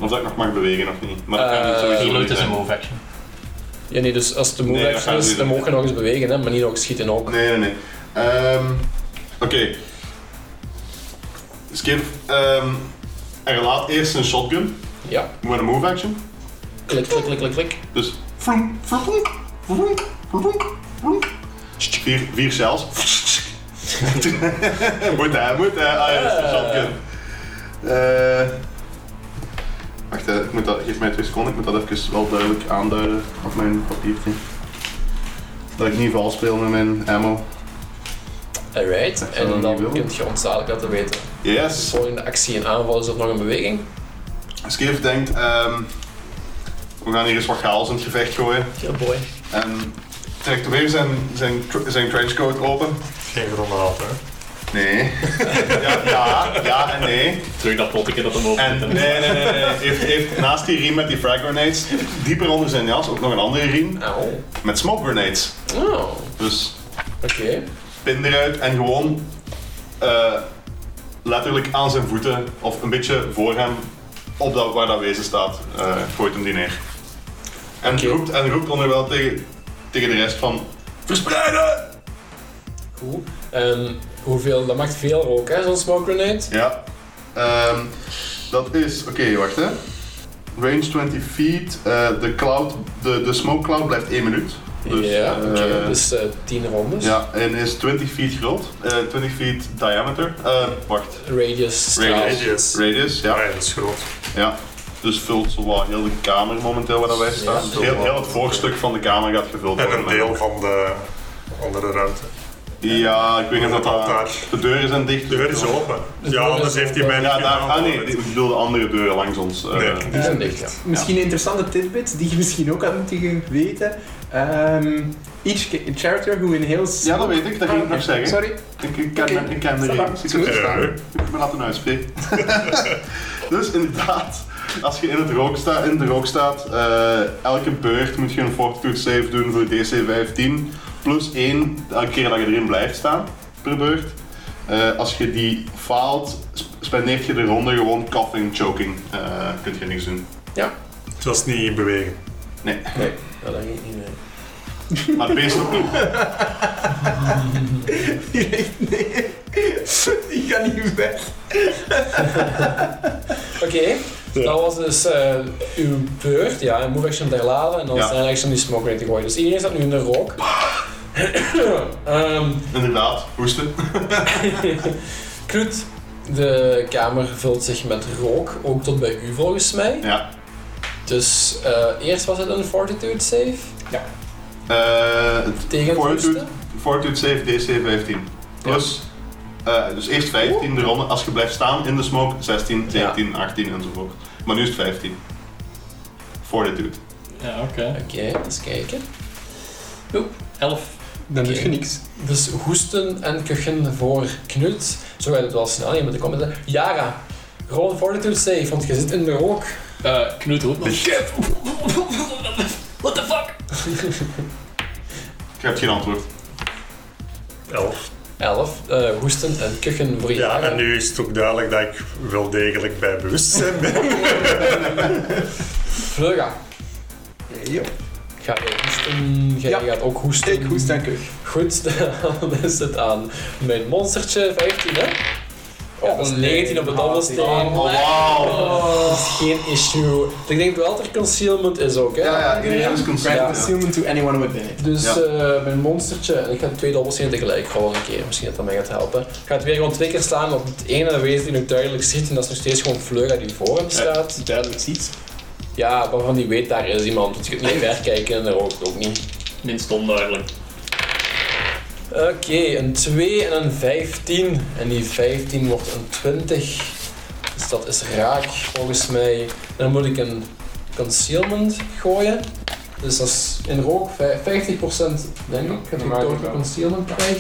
S3: Of dat ik nog mag bewegen of niet. Maar dat kan
S1: Eh,
S3: niet sowieso
S2: Reload
S3: niet
S2: is
S3: zijn.
S2: een move action.
S1: Ja, nee, dus als het een move
S3: Nee, dat
S1: action
S3: gaan we
S1: is,
S3: niet
S1: dan
S3: doen.
S1: mogen we nog eens bewegen, hè, maar niet nog schieten ook.
S3: Nee, nee, nee. Ehm, Oké. Skip, ehm, er laat eerst een shotgun.
S1: Ja.
S3: Met een move action.
S1: Klik, klik, klik, klik, klik.
S3: Dus vroom, vroom, vroom, vroom, vroom. Vier, vier cells. *laughs* moet hij, moet hij. Ah ja, dat is de shotgun. Eh, wacht, hè, ik moet dat, geef mij twee seconden. Ik moet dat even wel duidelijk aanduiden op mijn papiertje. Dat ik niet vals speel met mijn ammo.
S1: Alright.
S3: Dat
S1: En
S3: zou ik niet
S1: dan
S3: willen.
S1: kun je ons dadelijk laten weten.
S3: Yes.
S1: Volgende actie en aanval is er nog een beweging.
S3: Skiff denkt, ehm, we gaan hier eens wat chaos in het gevecht gooien.
S1: Ja, boy.
S3: En trekt weer zijn, zijn, tr- zijn trenchcoat open.
S6: Geen ronde af, hè?
S3: Nee. *laughs* ja, ja, ja en nee.
S2: Terug dat potje dat hem open
S3: En nee, nee, nee. nee, nee. Heeft, heeft naast die riem met die frag grenades, dieper onder zijn jas, ook nog een andere riem
S1: Au.
S3: met smoke grenades.
S1: Nou. Oh,
S3: Dus
S1: oké.
S3: pin eruit en gewoon eh, letterlijk aan zijn voeten of een beetje voor hem op dat, waar dat wezen staat, eh, gooit hem die neer. En
S1: Oké.
S3: roept en roept onderwijl tegen, tegen de rest van verspreiden!
S1: Goed. En hoeveel, dat maakt veel rook, hè, zo'n smoke grenade.
S3: Ja. Ehm, dat is, oké, wacht hè. Range 20 feet, eh, de, cloud, de, de smoke cloud blijft 1 minuut. Dus,
S1: ja, oké.
S3: eh,
S1: dus eh 10 rondes.
S3: Ja, en is 20 feet groot, eh, 20 feet diameter. Eh, wacht,
S1: Radius. straal.
S3: Radius. radius,
S6: Radius. Ja,
S3: ja.
S6: ja, dat is groot.
S3: ja. Dus vult zowel heel de kamer momenteel waar dat wij staan.
S1: Ja,
S3: Dus heel, heel het voorstuk van de kamer gaat gevuld
S6: En
S3: worden.
S6: een deel van de andere ruimte.
S3: Ja, ik weet niet of dat eh,
S6: Altaar.
S3: De deuren zijn dicht.
S6: De deur is open.
S1: deur
S6: Ja, anders
S1: is
S6: heeft hij
S1: open.
S6: mij niet
S3: Ja, daar,
S6: gedaan.
S3: ah nee, ik bedoel de andere deuren langs ons. eh.
S6: Nee.
S1: Die zijn dicht, ja.
S4: Misschien een interessante tidbit die je misschien ook had moeten weten. Ehm each ca- character who inhales...
S3: Ja, dat weet ik, dat ging ik nog zeggen.
S4: Sorry. *laughs*
S3: Ik, ik ken,
S4: Oké,
S3: ik ken de
S4: ça va.
S3: regels. Ik heb ze
S4: Goed.
S3: staan. Ik heb me laten uitspreken. *laughs* dus inderdaad, als je in, het rook sta, in de rook staat, eh, elke beurt moet je een fortitude save doen voor DC-15. Plus 1 elke keer dat je erin blijft staan per beurt. Eh, als je die faalt, sp- spendeert je de ronde gewoon coughing, choking. Eh kun je niks doen.
S6: Het was niet bewegen.
S3: Nee,
S1: Nee, ja, dat ging niet mee.
S3: maar het beest ook niet. *laughs*
S4: Die ligt neer. Die gaat niet weg.
S1: Oké, dat was dus eh, uw beurt. Ja, en move action herladen en dan
S3: Ja.
S1: zijn action die smoke rate te gooien. Dus iedereen staat nu in de
S3: *coughs*
S1: rook. Ehm *laughs*
S3: Inderdaad, hoesten.
S1: Knut, de kamer vult zich met rook, ook tot bij u volgens mij.
S3: Ja.
S1: Dus eh, eerst was het een fortitude save
S3: Eh, het
S1: tegen het
S3: Fortitude.
S1: hoesten.
S3: Fortitude save DC 15. Plus, eh, dus eerst 15 de ronde. Als je blijft staan in de smoke, 16, 17, 18 enzovoort. Maar nu is het 15. Fortitude.
S2: Ja, oké.
S1: Oké, eens kijken.
S2: 11.
S4: Dan doet
S1: Oké.
S4: je niks.
S1: Dus hoesten en kuchen voor Knut. Zo gaat het wel snel, je moet de comment hebben. Yara, roll een fortitude save, want je zit in de rook.
S2: Eh Knut roept nog. *laughs* What the fuck?
S3: Je hebt geen antwoord.
S6: Elf.
S1: 11. eh, hoesten en kuchen voor
S6: Ja,
S1: Yara.
S6: en nu is het ook duidelijk dat ik wel degelijk bij bewustzijn ben. *laughs*
S1: Vleuga,
S4: Ja.
S1: ga jij hoesten? Jij
S4: Ja.
S1: gaat ook hoesten.
S4: Ik hoest en kuch.
S1: Goed, *laughs* dan is het aan mijn monstertje 15, hè? Oh,
S4: dat is
S1: 19 op de dobbelsteen.
S4: Oh,
S3: wauw.
S1: Dat is geen issue. Ik denk wel dat er concealment is ook, hè?
S3: Ja, ja, iedereen is
S4: Grant
S3: consent. ja.
S4: concealment to anyone within it.
S1: Dus
S3: Ja.
S1: eh, mijn monstertje, en ik ga twee dobbelstenen tegelijk gewoon een keer, misschien dat dat mij gaat helpen. Gaat weer gewoon twee keer slaan op het ene wezen die nog duidelijk ziet, en dat is nog steeds gewoon Fleur die voor hem staat.
S2: Duidelijk ziet.
S1: Ja, waarvan die weet daar is iemand, want je kunt niet verkijken en daar ook, ook niet.
S2: Minst onduidelijk.
S1: Oké, een 2 en een 15. En die 15 wordt een 20. Dus dat is raak volgens mij. Dan moet ik een concealment gooien. Dus dat is in rook vij- 50% denk ik, dat ik
S5: maar
S1: total
S5: wel.
S1: concealment krijg.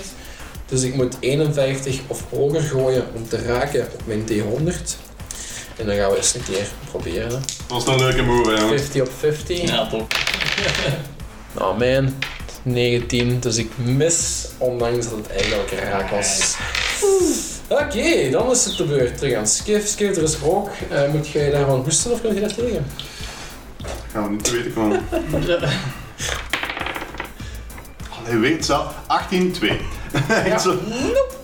S1: Dus ik moet 51 of hoger gooien om te raken op mijn D100. En dan gaan we eens een keer proberen. hè.
S3: was nou een leuke move, hè?
S1: 50 op 50.
S2: Ja, toch.
S1: Oh man, 19, dus ik mis, ondanks dat het eigenlijk raak was. Oké, dan is het de beurt. Terug aan Skiff. Skiff, er is rook. Eh, moet jij daarvan hoesten of kun je dat tegen?
S3: Gaan we niet te weten *laughs* komen. Hij weet zelf. 18-2. *laughs*
S1: Ja.
S3: Echt zo.
S1: En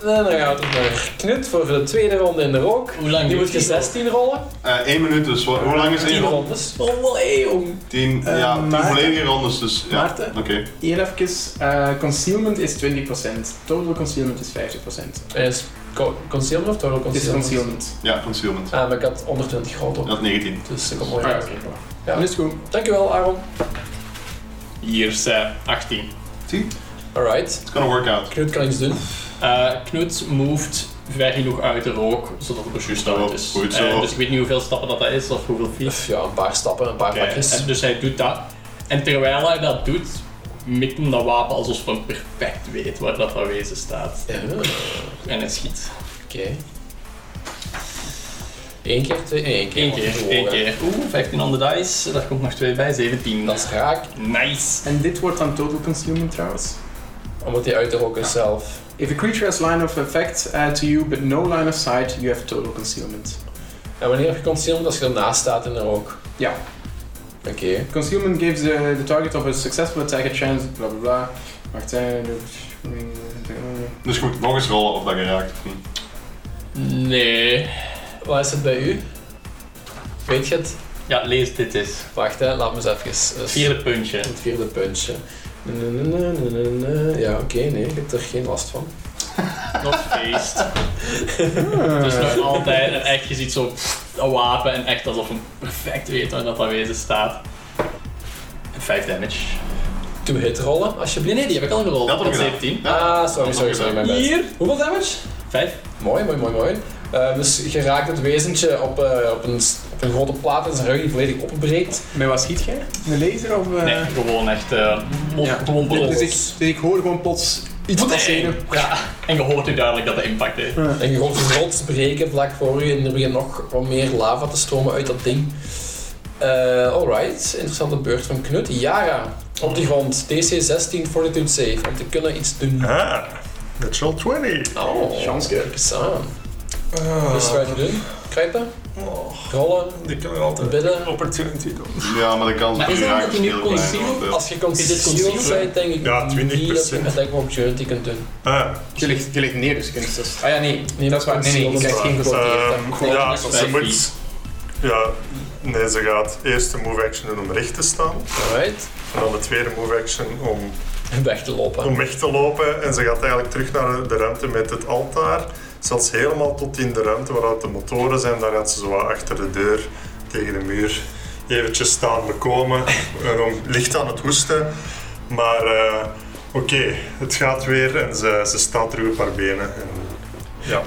S1: Eh, dan gaat het naar Knut voor de tweede ronde in de rook.
S2: Hoe lang
S1: Nu
S2: duurt
S1: moet je
S2: die
S1: 16 rollen.
S3: Eh, één minuut, dus wa- hoe lang is
S1: 10
S3: één ronde?
S1: rondes. Oh, wel, hey, jong.
S3: 10,
S4: Eh,
S3: ja, 10
S4: Maarten?
S3: volledige rondes, dus ja.
S4: Maarten?
S3: Oké.
S4: Hier even, eh, concealment is 20%, total concealment is 50%.
S1: Hij Is co- concealment of total
S4: Dit is
S1: concealment?
S4: concealment.
S3: Ja, concealment.
S1: Ah, maar ik had 120 goud op,
S3: Dat 19.
S1: dus ik kom mooi
S4: Ah,
S1: uit.
S4: oké, voilà.
S1: Ja.
S4: Dan is het goed.
S1: Dankjewel, Aaron.
S2: Hier, eh, zij, 18.
S1: Alright.
S3: It's gonna work out.
S1: Knut kan iets doen.
S2: Eh Knut moved ver genoeg uit de rook, zodat het er juist uit is.
S3: Goed zo.
S2: Eh, dus ik weet niet hoeveel stappen dat, dat is of hoeveel feet.
S1: Of Ja, een paar stappen, een paar
S2: Oké,
S1: pakjes.
S2: en dus hij doet dat. En terwijl hij dat doet, mikt hem dat wapen alsof hij perfect weet waar dat wezen staat.
S1: Ja, Oké.
S2: En hij schiet.
S1: Eén keer, twee, één keer.
S2: Eén keer, één keer. Oeh, 15 on the dice. Daar komt nog 2 bij, 17.
S1: Dat is raak,
S2: nice.
S4: En dit wordt dan total concealment trouwens.
S1: omdat hij uit de rokken zelf.
S4: If a creature has line of effect uh, to you but no line of sight, you have total concealment.
S1: En wanneer heb je concealment? Als je ernaast staat in de rok.
S4: Ja.
S1: Oké.
S4: Concealment gives uh, the, the target of a successful attack a chance, bla bla bla. Wacht, eh, de-
S3: Dus je moet nog eens rollen of dat je raakt of niet.
S2: Nee.
S1: Wat is het bij u? Weet je het?
S2: Ja, lees dit eens.
S1: Wacht, hè. laat me eens even. dus-
S2: Vierde puntje.
S1: Het vierde puntje. Na, na, na, na, na, na. Ja, oké, nee, ik heb er geen last van.
S2: Nog feest. Dus nog altijd. En echt, je ziet zo een wapen en echt alsof hij perfect weet waar dat dat wezen staat. En 5 damage.
S1: Two-hit rollen,
S2: Nee,
S1: alsjeblieft.
S2: nee, die heb ik al gerold.
S3: Dat heb ik
S2: Met
S3: gedaan.
S2: 17.
S1: Ah, sorry, sorry, sorry, mijn bad.
S2: Hier.
S1: Hoeveel damage?
S2: 5.
S1: Mooi, mooi, mooi, mooi. Eh, dus je raakt het wezentje op, eh, op, een, s- op een grote plaat in zijn rug die volledig opbreekt.
S4: Met wat schiet jij? Een laser of... eh,
S2: Nee, gewoon echt eh op,
S4: Ja.
S2: gewoon
S4: Dus
S2: brol.
S4: ik, dus ik hoor gewoon plots iets
S2: Wat
S4: passeren.
S2: een- Ja, en je hoort nu duidelijk dat de impact heeft.
S1: En je hoort een rots breken vlak voor je en er begint nog wat meer lava te stromen uit dat ding. Eh, alright, interessante beurt van Knut. Yara, op de grond, DC 16 Fortitude Save, om te kunnen iets doen.
S6: Ah, natural 20.
S1: Oh,
S4: Chance.
S1: kijk eens aan. Dus wat ga je doen? Kruipen,
S6: Ah. Oh,
S1: rollen,
S6: die kunnen altijd
S1: bidden.
S6: opportunity doen.
S3: Ja, maar de kans
S2: Maar
S3: dat
S2: is
S3: je
S2: dat
S3: raakt
S2: omdat hij nu
S3: heel klein,
S2: concealed
S3: want, eh,
S1: Als je
S2: Is dit
S1: concealed
S2: concealed?
S1: bent, denk ik
S6: Ja,
S1: niet dat je
S6: 20%.
S1: een attack of opportunity kunt doen.
S6: Ah,
S4: Je ligt, je ligt neer, dus je kunt dus... Ah ja, nee.
S1: Nee,
S4: dat is waar. Nee, nee, je
S1: dat is
S4: krijgt
S1: waar.
S4: geen
S1: Dat is
S4: grote...
S1: waar.
S6: ehm, ja,
S2: dat is
S6: ze
S2: vijf
S6: moet... Ja, nee, ze gaat eerst de move action doen om recht te staan.
S1: Alright, *laughs*
S6: En dan de tweede move action om,
S1: weg te lopen.
S6: om weg te lopen. En ze gaat eigenlijk terug naar de ruimte met het altaar. Zelfs helemaal tot in de ruimte waaruit de motoren zijn. Daar gaat ze zo wat achter de deur tegen de muur eventjes staan bekomen. *laughs* En om licht aan het hoesten. Maar eh, oké, het gaat weer en ze, ze staat terug op haar benen. En, ja.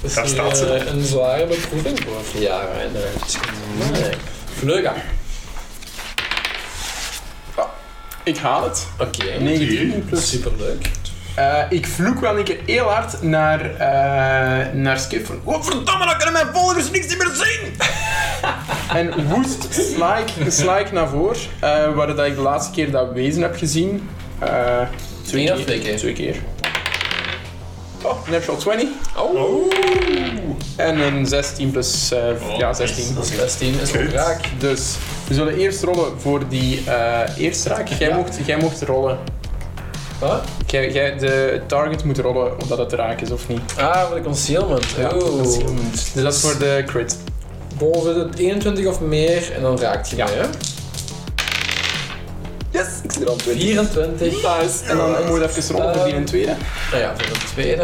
S1: Dat is
S6: Daar
S1: hier,
S6: staat ze.
S1: eh, een zware beproeving voor Yara. En, eh, nee. Vleuga.
S4: Ik haal het.
S1: Oké,
S4: 19 plus...
S1: superleuk.
S4: Eh, ik vloek wel een keer heel hard naar, eh naar Skip van... Oh, verdomme, dan kunnen mijn volgers niks meer zien! *laughs* en woest sla ik, sla ik naar voren, eh, waar dat ik de laatste keer dat wezen heb gezien. eh twee,
S1: Eén of
S4: keer,
S1: twee keer?
S4: Twee keer. Oh, natural 20.
S6: Oh,
S4: En een 16 plus... eh,
S2: Oh,
S4: ja,
S2: nice.
S4: 16.
S1: Dat is 16, is ook
S6: Oké.
S1: raak.
S4: Dus, we zullen eerst rollen voor die eh eerste raak. Jij,
S1: Ja.
S4: mocht, jij mocht rollen.
S1: Huh?
S4: Jij, jij, de target moet rollen of dat het raak is of niet.
S1: Ah, voor de concealment.
S4: Ja,
S1: Oeh.
S4: concealment. Dus dat is voor de crit.
S1: Boven de 21 of meer en dan raakt je
S4: Ja.
S1: mij, hè?
S4: Yes, ik zit er al
S1: 24.
S4: En dan oh, moet je even rollen voor die
S1: Ehm,
S4: en tweede.
S1: Nou ja, voor de tweede.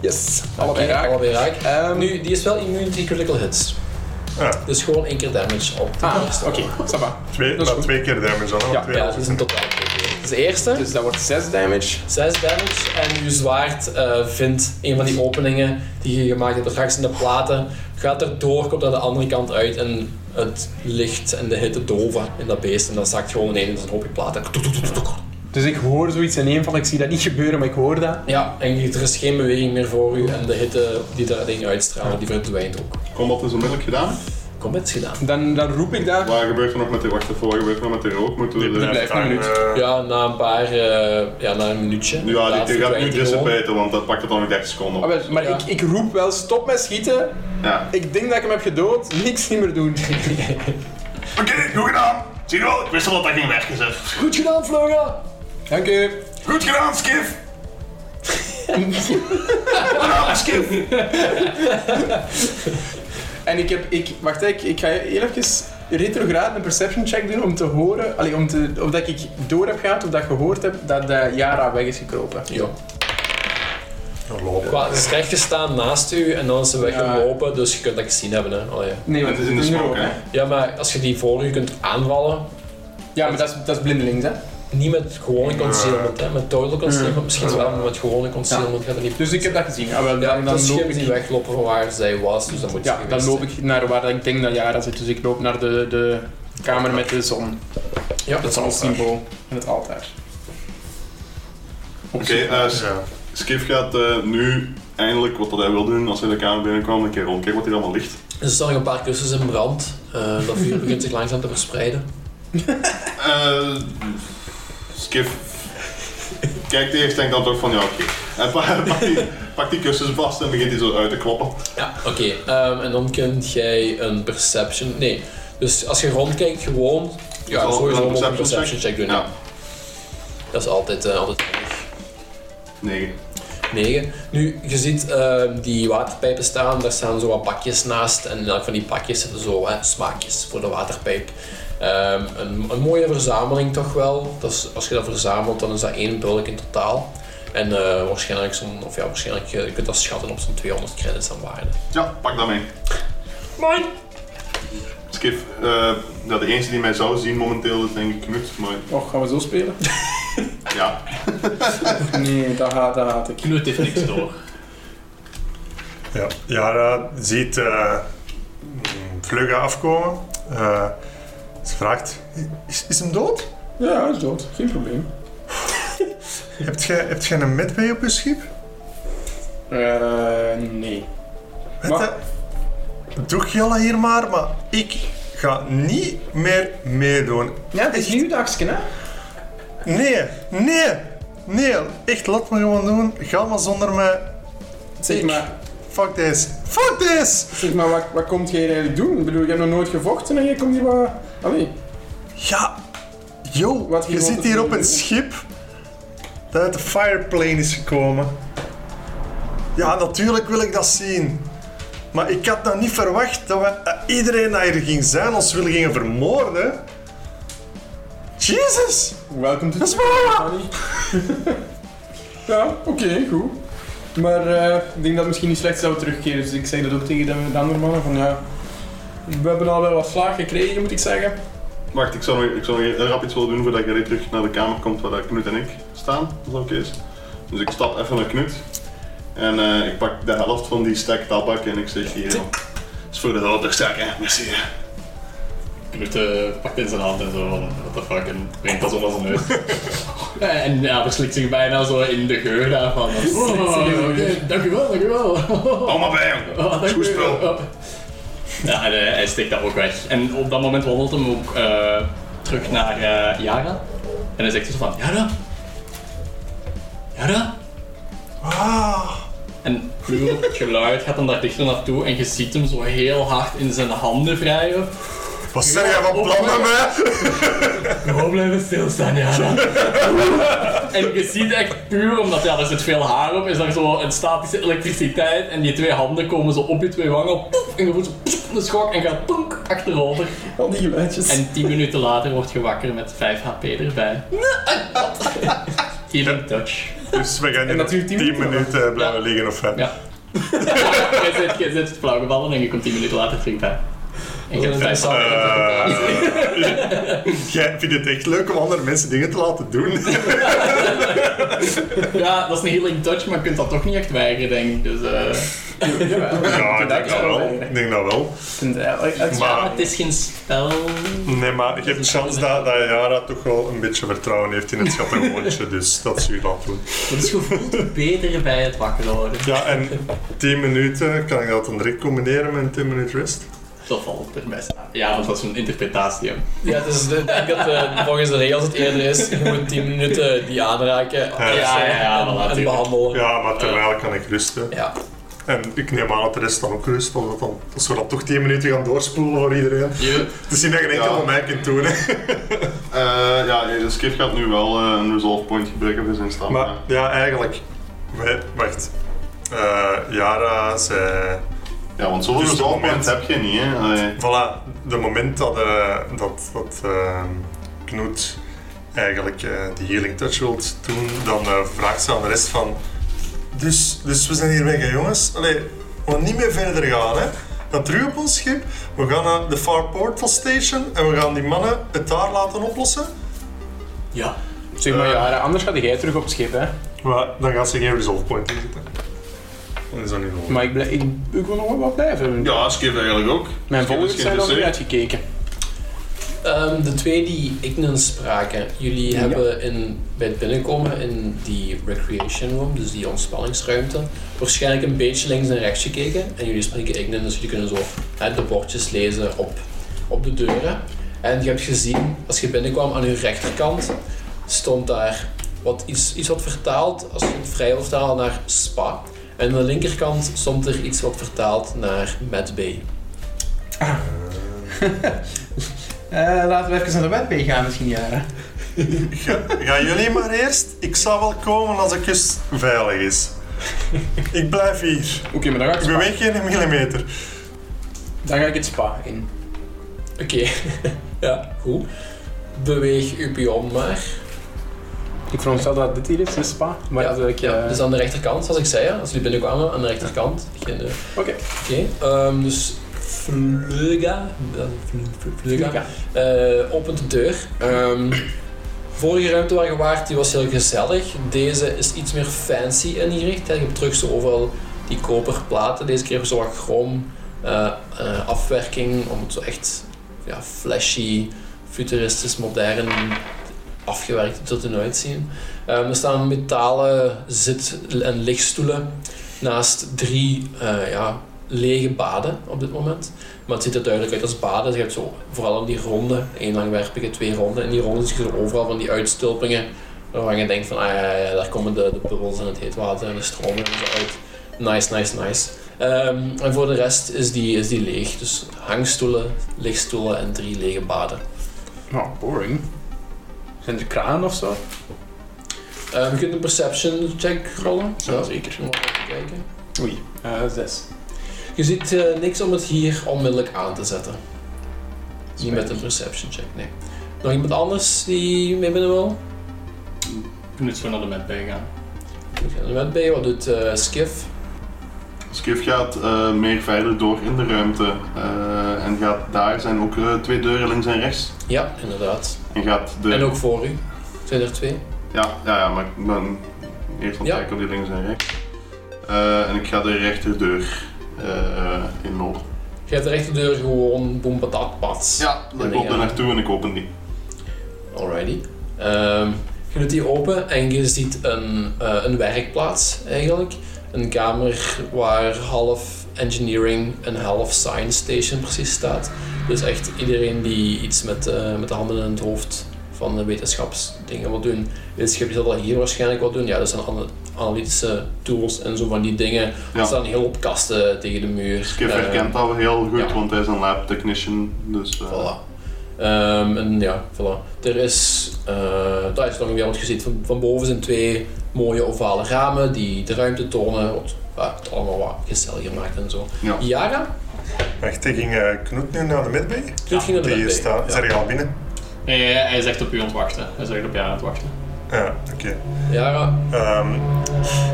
S4: Yes, allebei
S1: Oké,
S4: raak.
S1: Allebei raak.
S4: Ehm,
S1: Nu, die is wel immuun tegen critical hits.
S6: Ja.
S1: Dus gewoon één keer damage op de
S4: Ah,
S1: eerste.
S4: oké, ça va.
S6: twee,
S4: Dat is
S6: maar
S4: goed.
S6: twee keer damage dan. hè, want
S4: Ja,
S6: twee
S1: Ja,
S6: rollen.
S1: dat is een totaal. Dus de eerste,
S4: Dus dat wordt 6 damage.
S1: 6 damage. En uw zwaard eh, vindt een van die openingen die je gemaakt hebt. Dat straks in de platen gaat erdoor, komt aan de andere kant uit en het licht en de hitte doven in dat beest en dat zakt gewoon beneden in zijn hoopje platen.
S4: Dus ik hoor zoiets in één van, ik zie dat niet gebeuren, maar ik hoor dat.
S1: Ja, en je- er is geen beweging meer voor u en de hitte die dat ding uitstraalt, die verdwijnt ook.
S3: Combat is onmiddellijk gedaan.
S1: Kom, het is gedaan.
S4: Dan, dan roep ik dat.
S3: Wat gebeurt er nog met de wacht even, wat gebeurt er nog met de rook? Moeten we de-
S4: blijft een minuut.
S6: hangen.
S1: Ja, na een paar, eh, ja, na een minuutje.
S3: Ja,
S1: inderdaad,
S3: die gaat nu
S1: verdwijnt die gewoon.
S3: dissipaten, want dat pakt het dan nog 30 seconden
S4: Ah,
S3: op.
S4: wel, maar
S1: Ja.
S4: ik, ik roep wel, stop met schieten.
S3: Ja.
S4: Ik denk dat ik hem heb gedood. *laughs* Niks niet meer doen.
S3: Oké, goed gedaan! Zie je wel, ik wist al dat dat ging werken, zeg.
S1: Goed gedaan, Flora!
S4: Dank u.
S3: Goed gedaan, Skif! Goed
S2: Ah,
S3: gedaan, Skif!
S4: En ik heb, ik, wacht ik, ik ga heel even retrograad een perception check doen om te horen, allee, om te, of dat ik door heb gehad of dat ik gehoord heb dat eh, Yara weg is gekropen.
S1: Ja.
S6: Dan lopen.
S1: Qua, ze is recht gestaan naast u en dan is ze weggelopen, dus je kunt dat gezien hebben. Hè. Allee.
S4: Nee,
S3: Het is in de smoke, hè?
S1: Ja, maar als je die voor u kunt aanvallen,
S4: Ja, maar dat is, dat is blindelings, hè.
S1: niet met gewone concealment, hè, met total concealment, misschien wel, maar met gewone concealment gaat het niet.
S4: Dus ik heb dat gezien. Ah, wel,
S1: Ja, dan,
S4: dan, dan
S1: loop
S4: loop
S1: je niet
S4: ik,
S1: weglopen van waar zij was, dus dan moet je
S4: ja, dan loop ik naar waar ik denk dat Yara zit. Dus ik loop naar de, de kamer met de zon.
S1: Ja,
S4: Dat is een symbool en het altaar.
S3: Oké, eh, S-
S6: Ja.
S3: Skif gaat eh, nu eindelijk wat dat hij wil doen als hij de kamer binnenkwam. Een keer rondkijken wat hier allemaal ligt.
S1: Dus Er staan nog een paar kussens in brand. Eh, dat vuur begint zich langzaam te verspreiden.
S3: Eh Skif kijkt eerst denkt dan toch van ja oké. Hij pa- *laughs* pakt die, pakt die kussens vast en begint die zo uit te kloppen.
S1: Ja, oké. ehm, en dan kunt jij een perception... Nee, dus als je rondkijkt, gewoon... Ja,
S3: Zal-
S1: sowieso
S3: zal
S1: moet je een
S3: perception
S1: perception check doen. Ja.
S3: Ja,
S1: Dat is altijd, eh, altijd handig.
S3: 9.
S1: 9. Nu, je ziet ehm, die waterpijpen staan, daar staan zo wat bakjes naast. En in elk van die bakjes zitten zo hè, smaakjes voor de waterpijp. Ehm, een, een mooie verzameling toch wel. Dat is, als je dat verzamelt, dan is dat één bulk in totaal. En eh, waarschijnlijk, zo'n, of ja, waarschijnlijk eh, je kunt dat schatten op zo'n 200 credits aan waarde.
S3: Ja, pak dat mee.
S1: Mooi!
S3: Skif, eh, ja, de enige die mij zou zien momenteel is denk ik Knut, maar
S4: Och, gaan we zo spelen?
S3: ja.
S4: *laughs* Nee, dat haat, dat haat ik.
S2: Knut heeft niks door.
S6: Ja, Yara ziet eh Vlugge afkomen. Eh, ze vraagt, is, is hem dood?
S4: Ja, hij is dood. Geen probleem.
S6: Hebt jij hebt gij een medway op je schip?
S4: Eh, nee.
S6: Weet
S4: Maar-
S6: je, doe je dat hier maar, maar ik ga niet meer meedoen.
S4: Ja, het is nieuw dagje, hè?
S6: Nee, nee, nee. Echt, laat me gewoon doen. Ga maar zonder mij.
S4: Zeg
S6: Ik-
S4: maar,
S6: Fuck this. Fuck this!
S4: Zeg maar, wat, wat komt jij eigenlijk doen? Ik bedoel, je hebt nog nooit gevochten en je komt hier wat... Allee.
S6: Ja, yo,
S4: Wat
S6: je
S4: hier
S6: zit
S4: wordt
S6: hier
S4: het
S6: op een
S4: nu?
S6: schip dat uit de fireplane is gekomen. Ja, natuurlijk wil ik dat zien. Maar ik had nou niet verwacht dat we dat iedereen dat hier ging zijn ons willen gingen vermoorden. Jesus!
S4: Welkom to
S6: Dat is waar!
S4: Allee. *laughs* ja, oké, goed. Maar eh, ik denk dat het misschien niet slecht zou terugkeren. Dus ik zei dat ook tegen de, de andere mannen. Van ja, we hebben al wel wat slaag gekregen, moet ik zeggen.
S3: Wacht, ik zou nog, ik zou nog heel rap iets willen doen voordat jij terug naar de kamer komt waar dat Knut en ik staan, als dat oké is. Dus ik stap even naar Knut en eh, ik pak de helft van die stek tabak en ik zeg hier, dat is voor de grote stek hè, merci.
S2: Knut eh, pakt in zijn hand en zo van, what the fuck, en brengt dat zo naar zijn neus. en ja, verslikt zich bijna zo in de geur daarvan. Oh, oké, dankjewel, dankjewel.
S3: Hou maar bij hem,
S2: Oh,
S3: is goed
S2: dankjewel.
S3: spul.
S2: Ja, en eh, hij steekt dat ook weg. En op dat moment wandelt hem ook eh, terug naar eh Yara. En hij zegt dus van, Yara? Yara?
S6: Ah,
S2: En puur het geluid gaat hem daar dichter naartoe en je ziet hem zo heel hard in zijn handen vrijen.
S6: wat zijn jij van plan met mij?
S2: Gewoon blijven stilstaan, ja. *laughs* en je ziet echt puur, omdat ja, er zit veel haar op, is er zo een statische elektriciteit en die twee handen komen zo op je twee wangen, poef, en je voelt zo poef, een schok en gaat poenk achterover.
S4: Al die geluidjes.
S2: *laughs* En tien minuten later word je wakker met 5 HP erbij. Healing touch.
S6: Dus we gaan
S4: En
S6: hier nog 10
S4: natuurlijk 10 minuten
S6: minuten eh, blijven liggen of wat?
S2: Ja. Jij zit, jij zit flauwgevallen en je komt 10 minuten later terug bij. En je hebt een vijf HP.
S6: Eh, *laughs* Jij vindt het echt leuk om andere mensen dingen te laten doen.
S2: Ja, dat is een healing touch, maar je kunt dat toch niet echt weigeren, denk ik. Dus, eh
S6: Ja, ik
S5: dat
S6: denk dat
S5: wel
S6: wel. Ik denk dat wel. Maar-
S2: Ah, het is geen spel.
S6: Nee, maar je hebt kans dat, dat Yara toch wel een beetje vertrouwen heeft in het schattenwoontje, dus dat zie je dan doen.
S2: Het is gevoeld beter bij het wakker worden.
S6: Ja, en 10 minuten, kan ik dat dan direct combineren met een 10 minuten rest?
S2: Dat valt er best aan. Ja, want dat is een interpretatie. hè.
S1: Ja, dus ik denk dat eh, volgens de regels het eerder is, je moet 10 minuten die aanraken
S6: Ja,
S2: ja, ja, voilà,
S1: en, en
S2: tuurlijk.
S1: behandelen.
S6: Ja, maar terwijl kan ik rusten.
S1: Ja.
S6: En ik neem aan dat de rest dan ook rust, omdat dan, als we dat toch 10 minuten gaan doorspoelen voor iedereen.
S2: Je,
S6: Het is niet dat je enkel
S3: Ja.
S6: van mij kunt doen. hè.
S3: Eh, ja, Skif gaat nu wel eh, een resolve point gebruiken voor zijn stamina.
S6: Maar ja, eigenlijk. Wij- Wacht. Eh Yara zei.
S3: ja, want zo'n
S6: Dus het
S3: resolve point
S6: moment-
S3: heb je niet, hè. Allee.
S6: Voilà, de moment dat, eh, dat, dat eh, Knoet eigenlijk eh die healing touch wilt doen, dan eh, vraagt ze aan de rest van... Dus, dus we zijn hier weg, hè, jongens. Allee, we gaan niet meer verder gaan, hè. We gaan terug op ons schip, we gaan naar de Far Portal Station en we gaan die mannen het daar laten oplossen.
S2: ja.
S5: Zeg maar, ja, anders ga jij terug op het schip, hè.
S6: Maar dan gaat ze geen resolve point in zitten. Dat is dan niet nodig.
S5: Maar ik, blij- ik, ik wil nog wel wat blijven.
S3: Ja, Skif eigenlijk ook.
S5: Mijn
S3: Skif is dus,
S5: volgers zijn al niet
S3: geïnteresseerd.
S5: uitgekeken.
S1: Ehm, de twee die ik nu spraken, jullie hebben in, bij het binnenkomen in die recreation room, dus die ontspanningsruimte, waarschijnlijk een beetje links en rechts gekeken. En jullie spreken Ignan, dus jullie kunnen zo hè, de bordjes lezen op, op de deuren. En je hebt gezien, als je binnenkwam aan uw rechterkant, stond daar wat, iets, iets wat vertaald, als je het vrij wil vertalen, naar spa. En aan de linkerkant stond er iets wat vertaald naar medbay.
S4: Eh, laten we even naar de webpage gaan, misschien, Jaren.
S6: Gaan jullie maar eerst. Ik zal wel komen als de kust veilig is. Ik blijf hier.
S5: Oké, maar dan ga, ik
S6: Ik
S5: het spa,
S6: beweeg geen millimeter.
S5: dan ga ik het spa in.
S1: Oké, *laughs* ja, goed. Beweeg uw pion maar.
S5: Ik veronderstel dat dit hier is, de spa. Maar
S1: ja,
S5: dat ik...
S1: ja,
S5: eh,
S1: dus aan de rechterkant, zoals ik zei, hè, als jullie binnenkwamen, aan de rechterkant. Geen, eh,
S5: Oké.
S1: Oké, ehm, dus Vleuga, eh, Vle- Vle- Vleuga
S5: Ja.
S1: eh, opent de deur. Ehm, vorige ruimte waar je waart, die was heel gezellig. Deze is iets meer fancy ingericht. hè. Je hebt terug zo overal die koperplaten. Deze keer zo wat chrom eh, eh, afwerking om het zo echt ja, flashy, futuristisch, modern afgewerkt tot te uitzien. Ehm, er staan metalen zit- en lichtstoelen naast drie eh, ja, lege baden op dit moment. Maar het ziet er duidelijk uit als baden. Dus je hebt zo, vooral in die ronde, één langwerpige, twee ronden. In die ronde zie je zo overal van die uitstulpingen. Waarvan je denkt van, ah ja, ja, ja, daar komen de, de bubbels en het heet water en de stromen en zo uit. Nice, nice, nice. Ehm, en voor de rest is die, is die leeg. Dus hangstoelen, lichtstoelen en drie lege baden.
S5: Nou, boring. Zijn er kranen of zo?
S1: Ehm, je kunt een perception check rollen.
S5: Zo, zeker.
S1: Om even te kijken.
S5: Oei,
S4: Ah,
S5: eh, zes.
S1: Je ziet eh, niks om het hier onmiddellijk aan te zetten. Niet met een perception check, nee. Nog iemand anders die mee binnen wil?
S2: Je moet zo naar de map bij gaan.
S1: Ik ben er net bij. Wat doet eh Skiff?
S3: Skif gaat eh, meer verder door in de ruimte. eh, en gaat daar zijn ook eh, twee deuren links en rechts.
S1: Ja, inderdaad.
S3: En gaat de...
S1: En ook voor u. Zijn er twee?
S3: Ja, ja, ja, maar ik ben eerst aan het
S1: Ja.
S3: kijken op die links en rechts. Eh, en ik ga de rechterdeur eh in mogen.
S1: Je hebt de rechterdeur gewoon boem patat pats.
S3: Ja,
S1: En
S3: ik loop
S1: die, ja.
S3: er naartoe en ik open die.
S1: Alrighty. Ehm, je doet die open en je ziet een, eh, een werkplaats eigenlijk. Een kamer waar half engineering en half science station precies staat. Dus echt iedereen die iets met, eh, met de handen in het hoofd van de wetenschapsdingen wil doen. Wetenschap zal dat hier waarschijnlijk wel doen. Ja, dat zijn ana- analytische tools en zo van die dingen.
S3: Ja.
S1: Er staan heel op kasten tegen de muur.
S3: Skip
S1: Ehm,
S3: herkent dat wel heel goed,
S1: ja.
S3: want hij is een lab technician. Dus, eh,
S1: Voilà. Ehm, en ja, voilà. Er is, eh daar is nog weer wat gezien. Van, van boven zijn twee mooie ovale ramen die de ruimte tonen. Wat, ja, het allemaal wat gezelliger maakt en zo.
S3: Ja.
S1: Yara,
S6: Wacht, ik ging eh, Knoet nu naar de midbay.
S1: toen ging er
S6: Die
S1: net
S6: hier
S1: bij.
S6: staat. Zijn
S1: Ja.
S6: je al binnen?
S2: Nee, hij- hij zegt op u aan het wachten. Hij zegt op jou aan het *laughs* wachten.
S6: Ja, oké.
S1: Yara,
S6: Ehm,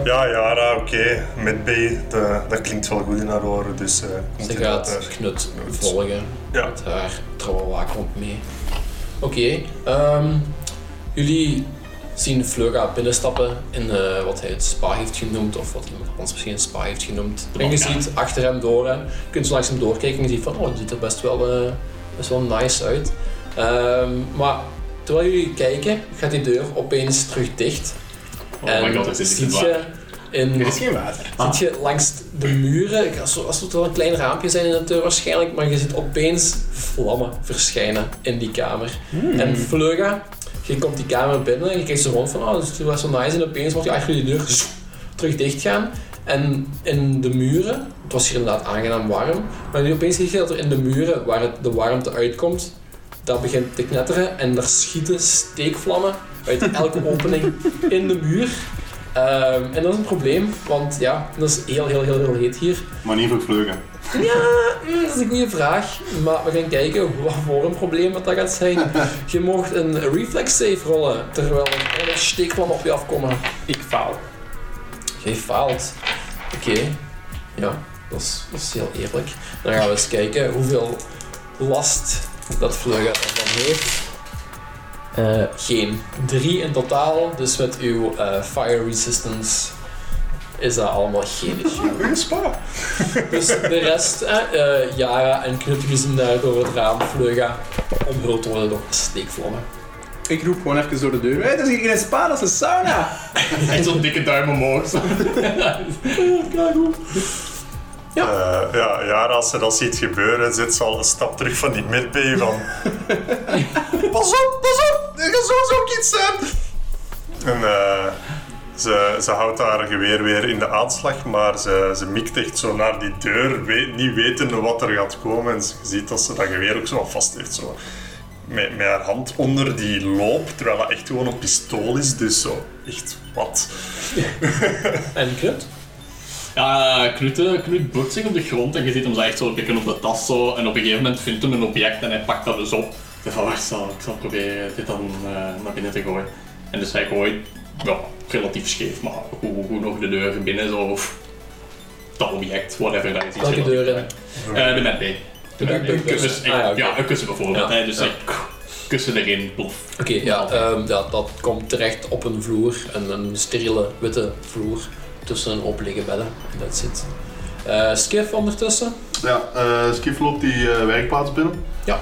S6: ja, Yara, oké. Midbay, de- dat klinkt wel goed in haar oren, dus... eh komt
S1: ze
S6: inderdaad
S1: gaat
S6: daar.
S1: Knut volgen.
S6: Ja.
S1: Met haar trouwe waakhond mee. Oké, ehm, jullie zien Fleur binnenstappen in eh, wat hij het spa heeft genoemd, of wat iemand anders misschien een spa heeft genoemd. En je
S2: badkamer.
S1: ziet achter hem door en je kunt zo langs hem doorkijken en je ziet van, oh, het ziet er best wel, eh, best wel nice uit. Ehm, maar terwijl jullie kijken, gaat die deur opeens terug dicht.
S2: Oh my god, het is niet
S1: ziet
S2: waar.
S1: je in
S4: Er is geen water.
S1: Zit je langs de muren, ik- als als het wel een klein raampje zijn in de deur waarschijnlijk, maar je ziet opeens vlammen verschijnen in die kamer. En Fleuga, je komt die kamer binnen en je kijkt zo rond van, oh, dat is wel zo nice. En opeens wordt je achter die deur zoep, terug dicht gaan. En in de muren, het was hier inderdaad aangenaam warm, maar nu opeens zie je dat er in de muren, waar het- de warmte uitkomt, dat begint te knetteren en er schieten steekvlammen uit elke opening in de muur. Ehm, en dat is een probleem, want ja, dat is heel, heel, heel, heel heet hier.
S3: Maar niet voor vleugen.
S1: Mm, dat is een goede vraag, maar we gaan kijken wat voor een probleem dat, dat gaat
S5: *laughs*
S1: zijn. Je mocht een reflex save rollen, terwijl er allemaal steekvlammen op je afkomen.
S5: Ik faal.
S1: Je faalt. Oké, ja, dat is, dat is heel eerlijk. Dan gaan we eens kijken hoeveel last dat vlugger ervan heeft. Eh, geen. Drie in totaal, dus met uw eh, fire resistance is dat allemaal geen issue.
S6: Goeie spa.
S1: Dus de rest, eh, eh, Yara en Knutje zien daar door het raam vluggen omhuld worden door steekvlammen.
S4: Ik roep gewoon even door de deur. Hé, dat is hier geen spa, dat is een sauna.
S2: Echt zo'n dikke duim omhoog. zo.
S6: Ja. Eh, ja, ja, als ze dat ziet gebeuren, zit ze al een stap terug van die midbay van... pas op, pas op, er gaat sowieso ook iets zijn. En eh, ze, ze houdt haar geweer weer in de aanslag, maar ze, ze mikt echt zo naar die deur, weet, niet wetende wat er gaat komen. En ze ziet dat ze dat geweer ook zo al vast heeft, zo met, met haar hand onder die loop, terwijl dat echt gewoon een pistool is, dus zo echt wat.
S1: En Knut?
S2: Ja, Knut, Knut bukt zich op de grond en je ziet hem zo echt zo pikken op de tas zo. En op een gegeven moment vindt hem een object en hij pakt dat dus op. Ik dacht van, wacht, ik zal, ik zal proberen dit dan eh, naar binnen te gooien. En dus hij gooit, ja, relatief scheef, maar hoe, hoe nog de deur binnen zo. Of dat object, whatever, daar is iets
S1: Welke
S2: relatief
S1: deur in?
S2: bij. Eh, de met mee. De
S1: met mee.
S2: kussen.
S1: Ah, ja, oké.
S2: Ja, een kussen bijvoorbeeld.
S1: Ja,
S2: hè, dus
S1: ja.
S2: echt kussen erin, plof.
S1: Oké, ja, ehm, dat, dat komt terecht op een vloer, een, een steriele witte vloer tussen een oplegen bedden. En dat zit. Eh Skiff ondertussen.
S3: Ja, eh Skif loopt die eh, werkplaats binnen.
S1: Ja.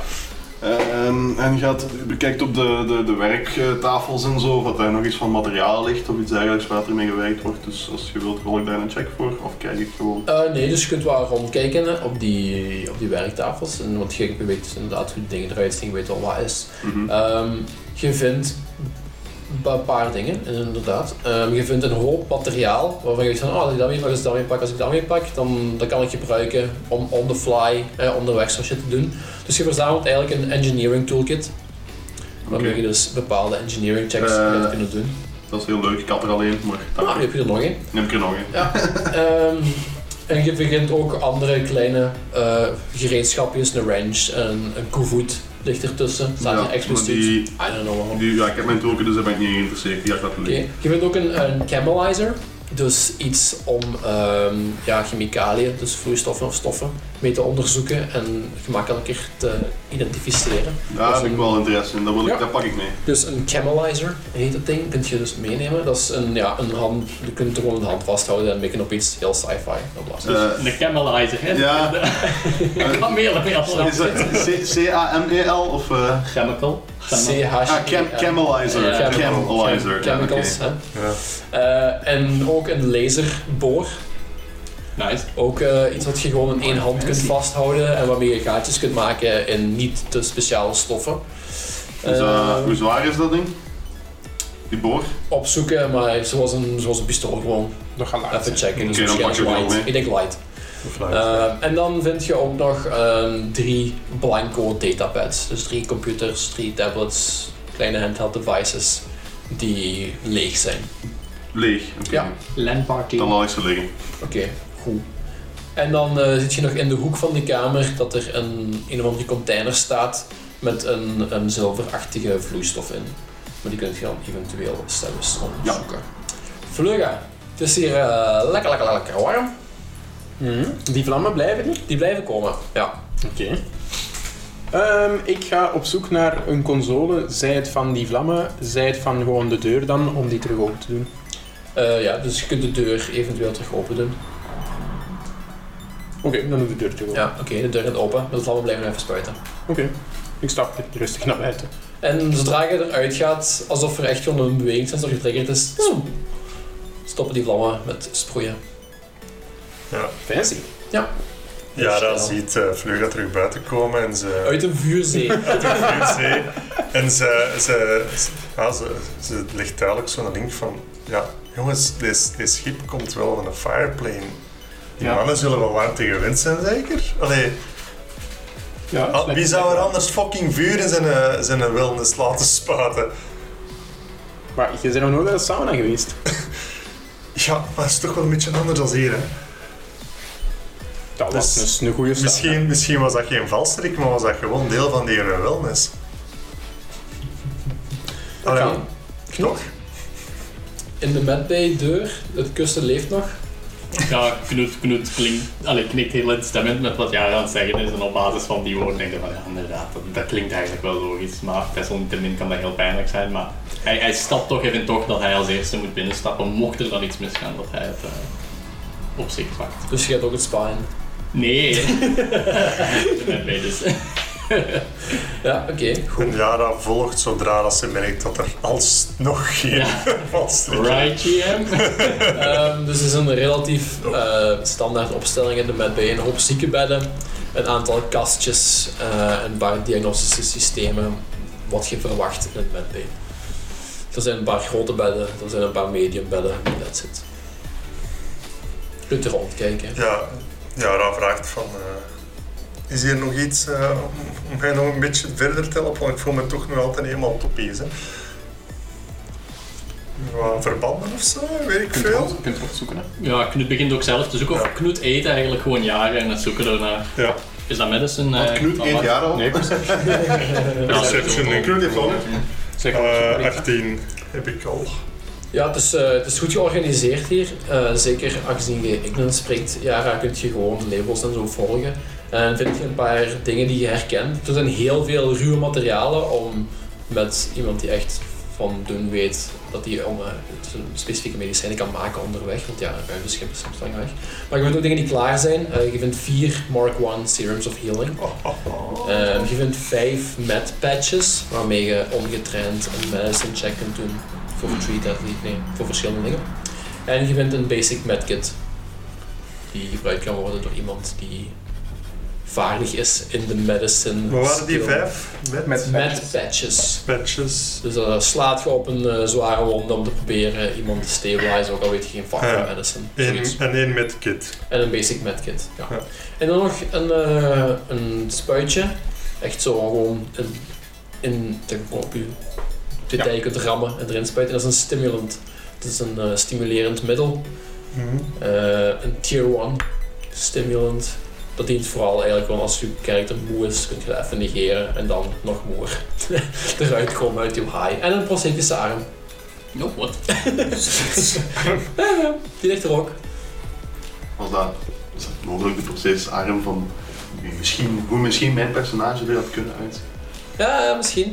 S3: Ehm, en gaat, bekijkt op de, de, de werktafels en zo, of dat daar nog iets van materiaal ligt of iets dergelijks waar er mee gewerkt wordt. Dus als je wilt, rol ik daar een check voor of kijk ik gewoon.
S1: Eh, nee, dus je kunt wel rondkijken hè, op die, op die werktafels. En, want je weet inderdaad hoe de dingen eruit zien, je weet al wat is.
S3: Mhm.
S1: Ehm, je vindt een paar dingen, inderdaad. Ehm, je vindt een hoop materiaal waarvan je denkt van, oh, als ik daarmee pak, als ik daarmee pak, als ik daarmee pak, dan dat kan ik gebruiken om on the fly, eh, onderweg zo'n shit te doen. Dus je verzamelt eigenlijk een engineering toolkit. Waarmee
S3: Oké.
S1: je dus bepaalde engineering checks
S3: Eh,
S1: kunt kunnen doen.
S3: Dat is heel leuk, ik had er alleen, maar
S1: Ah,
S3: daar
S1: heb je er nog één?
S3: neem ik er nog een.
S1: Ja. ehm, en je begint ook andere kleine eh, gereedschapjes, een wrench, een, een koevoet ligt ertussen. Staat
S3: Ja,
S1: een extra
S3: maar
S1: stuut.
S3: die-
S1: I don't know waarom.
S3: Die, ja, ik heb mijn token, dus daar ben ik niet in geïnteresseerd. Die had dat
S1: Oké,
S3: liggen.
S1: Je vindt ook een, een camelizer, dus iets om ehm, ja, chemicaliën, dus vloeistoffen of stoffen, mee te onderzoeken en gemakkelijker te identificeren.
S3: Daar heb ik wel interesse in, dat, wil ik,
S1: Ja.
S3: dat pak ik mee.
S1: Dus een camelizer heet dat ding, kun je dus meenemen. Dat is een, ja, een hand, je kunt er gewoon een hand vasthouden en mikken op iets heel sci-fi. Dat was het.
S3: Eh,
S2: De camelizer, hè?
S3: Ja.
S2: Ik kan meer dan
S3: is dat C- C-A-M-E-L of... eh
S2: Chemical. Chemical.
S1: CH.
S3: ah, cam camelizer.
S2: Ja.
S3: Camelizer. ja, oké.
S1: chemicals. hè.
S6: Ja.
S1: Eh, en ook een laserboor.
S2: Nice.
S1: Ook eh, iets wat je gewoon in één hand kunt vasthouden en waarmee je gaatjes kunt maken in niet te speciale stoffen.
S3: Dus, eh,
S1: Eh,
S3: hoe zwaar is dat ding? Die boor?
S1: opzoeken, maar zoals een, zoals een pistool gewoon.
S4: Nog gaan laten.
S1: Even checken. Dus
S3: Oké, dan
S1: waarschijnlijk
S3: pak je het wel
S1: light.
S3: mee.
S1: Ik denk light. Eh, en dan vind je ook nog eh, drie blanco datapads. Dus drie computers, drie tablets, kleine handheld devices die leeg zijn.
S3: Leeg. Oké.
S1: Ja.
S2: Landparty.
S3: Dan laat ik ze liggen.
S1: Oké, goed. En dan eh, zit je nog in de hoek van die kamer dat er een, een of andere container staat met een, een zilverachtige vloeistof in. Maar die kunt je dan eventueel zelfs onderzoeken. Vlugga, het is hier eh, lekker, lekker, lekker warm.
S4: Die vlammen blijven niet?
S1: Die blijven komen, ja.
S4: Oké. Ehm, ik ga op zoek naar een console, zij het van die vlammen, zij het van gewoon de deur dan, om die terug open te doen.
S1: Eh, ja, dus je kunt de deur eventueel terug open doen.
S4: Oké, dan doe ik de deur terug open.
S1: Ja, oké, de deur gaat open. De vlammen blijven even spuiten.
S4: Oké, ik stap er rustig naar buiten.
S1: En zodra je eruit gaat, alsof er echt gewoon een bewegingssensor getriggerd is, zoem, stoppen die vlammen met sproeien.
S4: Fancy.
S6: Yara
S1: Stel.
S6: ziet eh Fleuga terug buiten komen en ze...
S1: Uit een vuurzee.
S6: uit de vuur zee. En ze, ze, ze, ja, ze, ze legt duidelijk zo'n link van... Ja, jongens, dit dit schip komt wel van een fireplane. Die
S2: Ja.
S6: mannen zullen wel warmte gewend zijn, zeker? Allee,
S4: Ja,
S6: al- Oh, wie zou er anders fucking vuur in zijn, eh, zijn wellness laten spuiten?
S4: Maar je bent nog nooit naar de sauna geweest.
S6: Ja, maar het is toch wel een beetje anders dan hier, hè?
S4: Dat was
S6: Dus
S4: een, een goede sauna.
S6: Misschien, misschien was dat geen valstrik, maar was dat gewoon deel van die eh, wellness. Allee,
S1: kan.
S6: toch?
S1: In de medbay deur, het kussen leeft nog.
S2: Ja, Knut, Knut klinkt, allee, knikt heel instemmend met wat Jara aan het zeggen is. En op basis van die woorden denk ik van ja, inderdaad, dat, dat klinkt eigenlijk wel logisch. Maar desalniettemin kan dat heel pijnlijk zijn. Maar hij, hij stapt toch even toch dat hij als eerste moet binnenstappen. Mocht er dan iets misgaan, dat hij het eh, op zich pakt.
S1: Dus je gaat ook het spa in.
S4: *laughs*
S2: Nee, *laughs* ik ben bij dus.
S1: Ja, oké.
S6: En Jara volgt zodra dat ze merkt dat er alsnog geen
S2: Ja.
S6: *laughs* valstrik is.
S2: Right, GM?
S1: Ehm, dus het is een relatief eh, standaard opstelling in de medbay. Een hoop ziekenbedden, een aantal kastjes eh, en een paar diagnostische systemen. Wat je verwacht in het medbay. Er zijn een paar grote bedden, er zijn een paar medium bedden. That's it. Je kunt er rondkijken.
S6: Ja, Jara vraagt van... eh, is hier nog iets eh, om- om mij nog een beetje verder te helpen? Want ik voel me toch nog altijd helemaal topies, hè. Wat verbanden of zo, weet ik veel.
S4: Je kunt erop zoeken, hè.
S2: Ja, Knut begint ook zelf te zoeken. Of
S6: Ja.
S2: Knut eet eigenlijk gewoon jaren en het zoeken ernaar.
S6: Ja.
S2: Is dat medicine?
S3: Want
S2: eh,
S3: Knut
S2: van
S3: eet
S2: wat?
S3: jaren al.
S2: Nee, precies. Ja,
S6: Perception,
S2: dat is
S6: ik weet niet van.
S4: Zeg
S6: Eh,
S4: maar.
S6: 18 heb ik al.
S1: Ja, het is, eh, het is goed georganiseerd hier. Eh, zeker aangezien je Ignorant spreekt, ja, daar kun je gewoon de labels en zo volgen. En vind je een paar dingen die je herkent. Er zijn heel veel ruwe materialen om met iemand die echt van doen weet dat hij om eh, zo'n specifieke medicijnen kan maken onderweg. Want ja, een ruimteschip is soms lang weg. Maar je vindt ook dingen die klaar zijn. Eh, je vindt vier Mark 1 Serums of Healing.
S6: Oh,
S1: Ehm, je vindt vijf med patches waarmee je ongetraind een medicine check kunt doen voor
S6: Hmm.
S1: three deadly, nee, voor verschillende dingen. En je vindt een basic medkit die gebruikt kan worden door iemand die vaardig is in de medicine.
S6: Wat waren die
S1: skill.
S6: vijf? Met,
S4: Met
S1: Med patches.
S6: patches.
S1: Dus dan slaat je op een eh, zware wonde om te proberen iemand te stabilizen, ook al weet je geen fuck van
S6: Ja.
S1: medicine. Zoiets.
S6: Eén, en één met kit.
S1: En een basic medkit. Ja.
S6: Ja.
S1: En dan nog een, eh, een spuitje. Echt zo gewoon in, in de op je
S2: Ja.
S1: detail je kunt rammen en erin spuiten. Dat is een stimulant. Dat is een eh, stimulerend middel.
S6: Mhm.
S1: Eh, een tier 1 stimulant. Dat dient vooral eigenlijk gewoon als je character moe is, kun je dat even negeren en dan nog moer *laughs* eruit komen uit je high. En een prosthetische arm.
S2: No, what? *laughs*
S1: Die ligt er ook.
S3: Was dat, was dat mogelijk de procesarm van misschien, hoe misschien mijn personage er had kunnen uitzien?
S1: Ja, ja, misschien.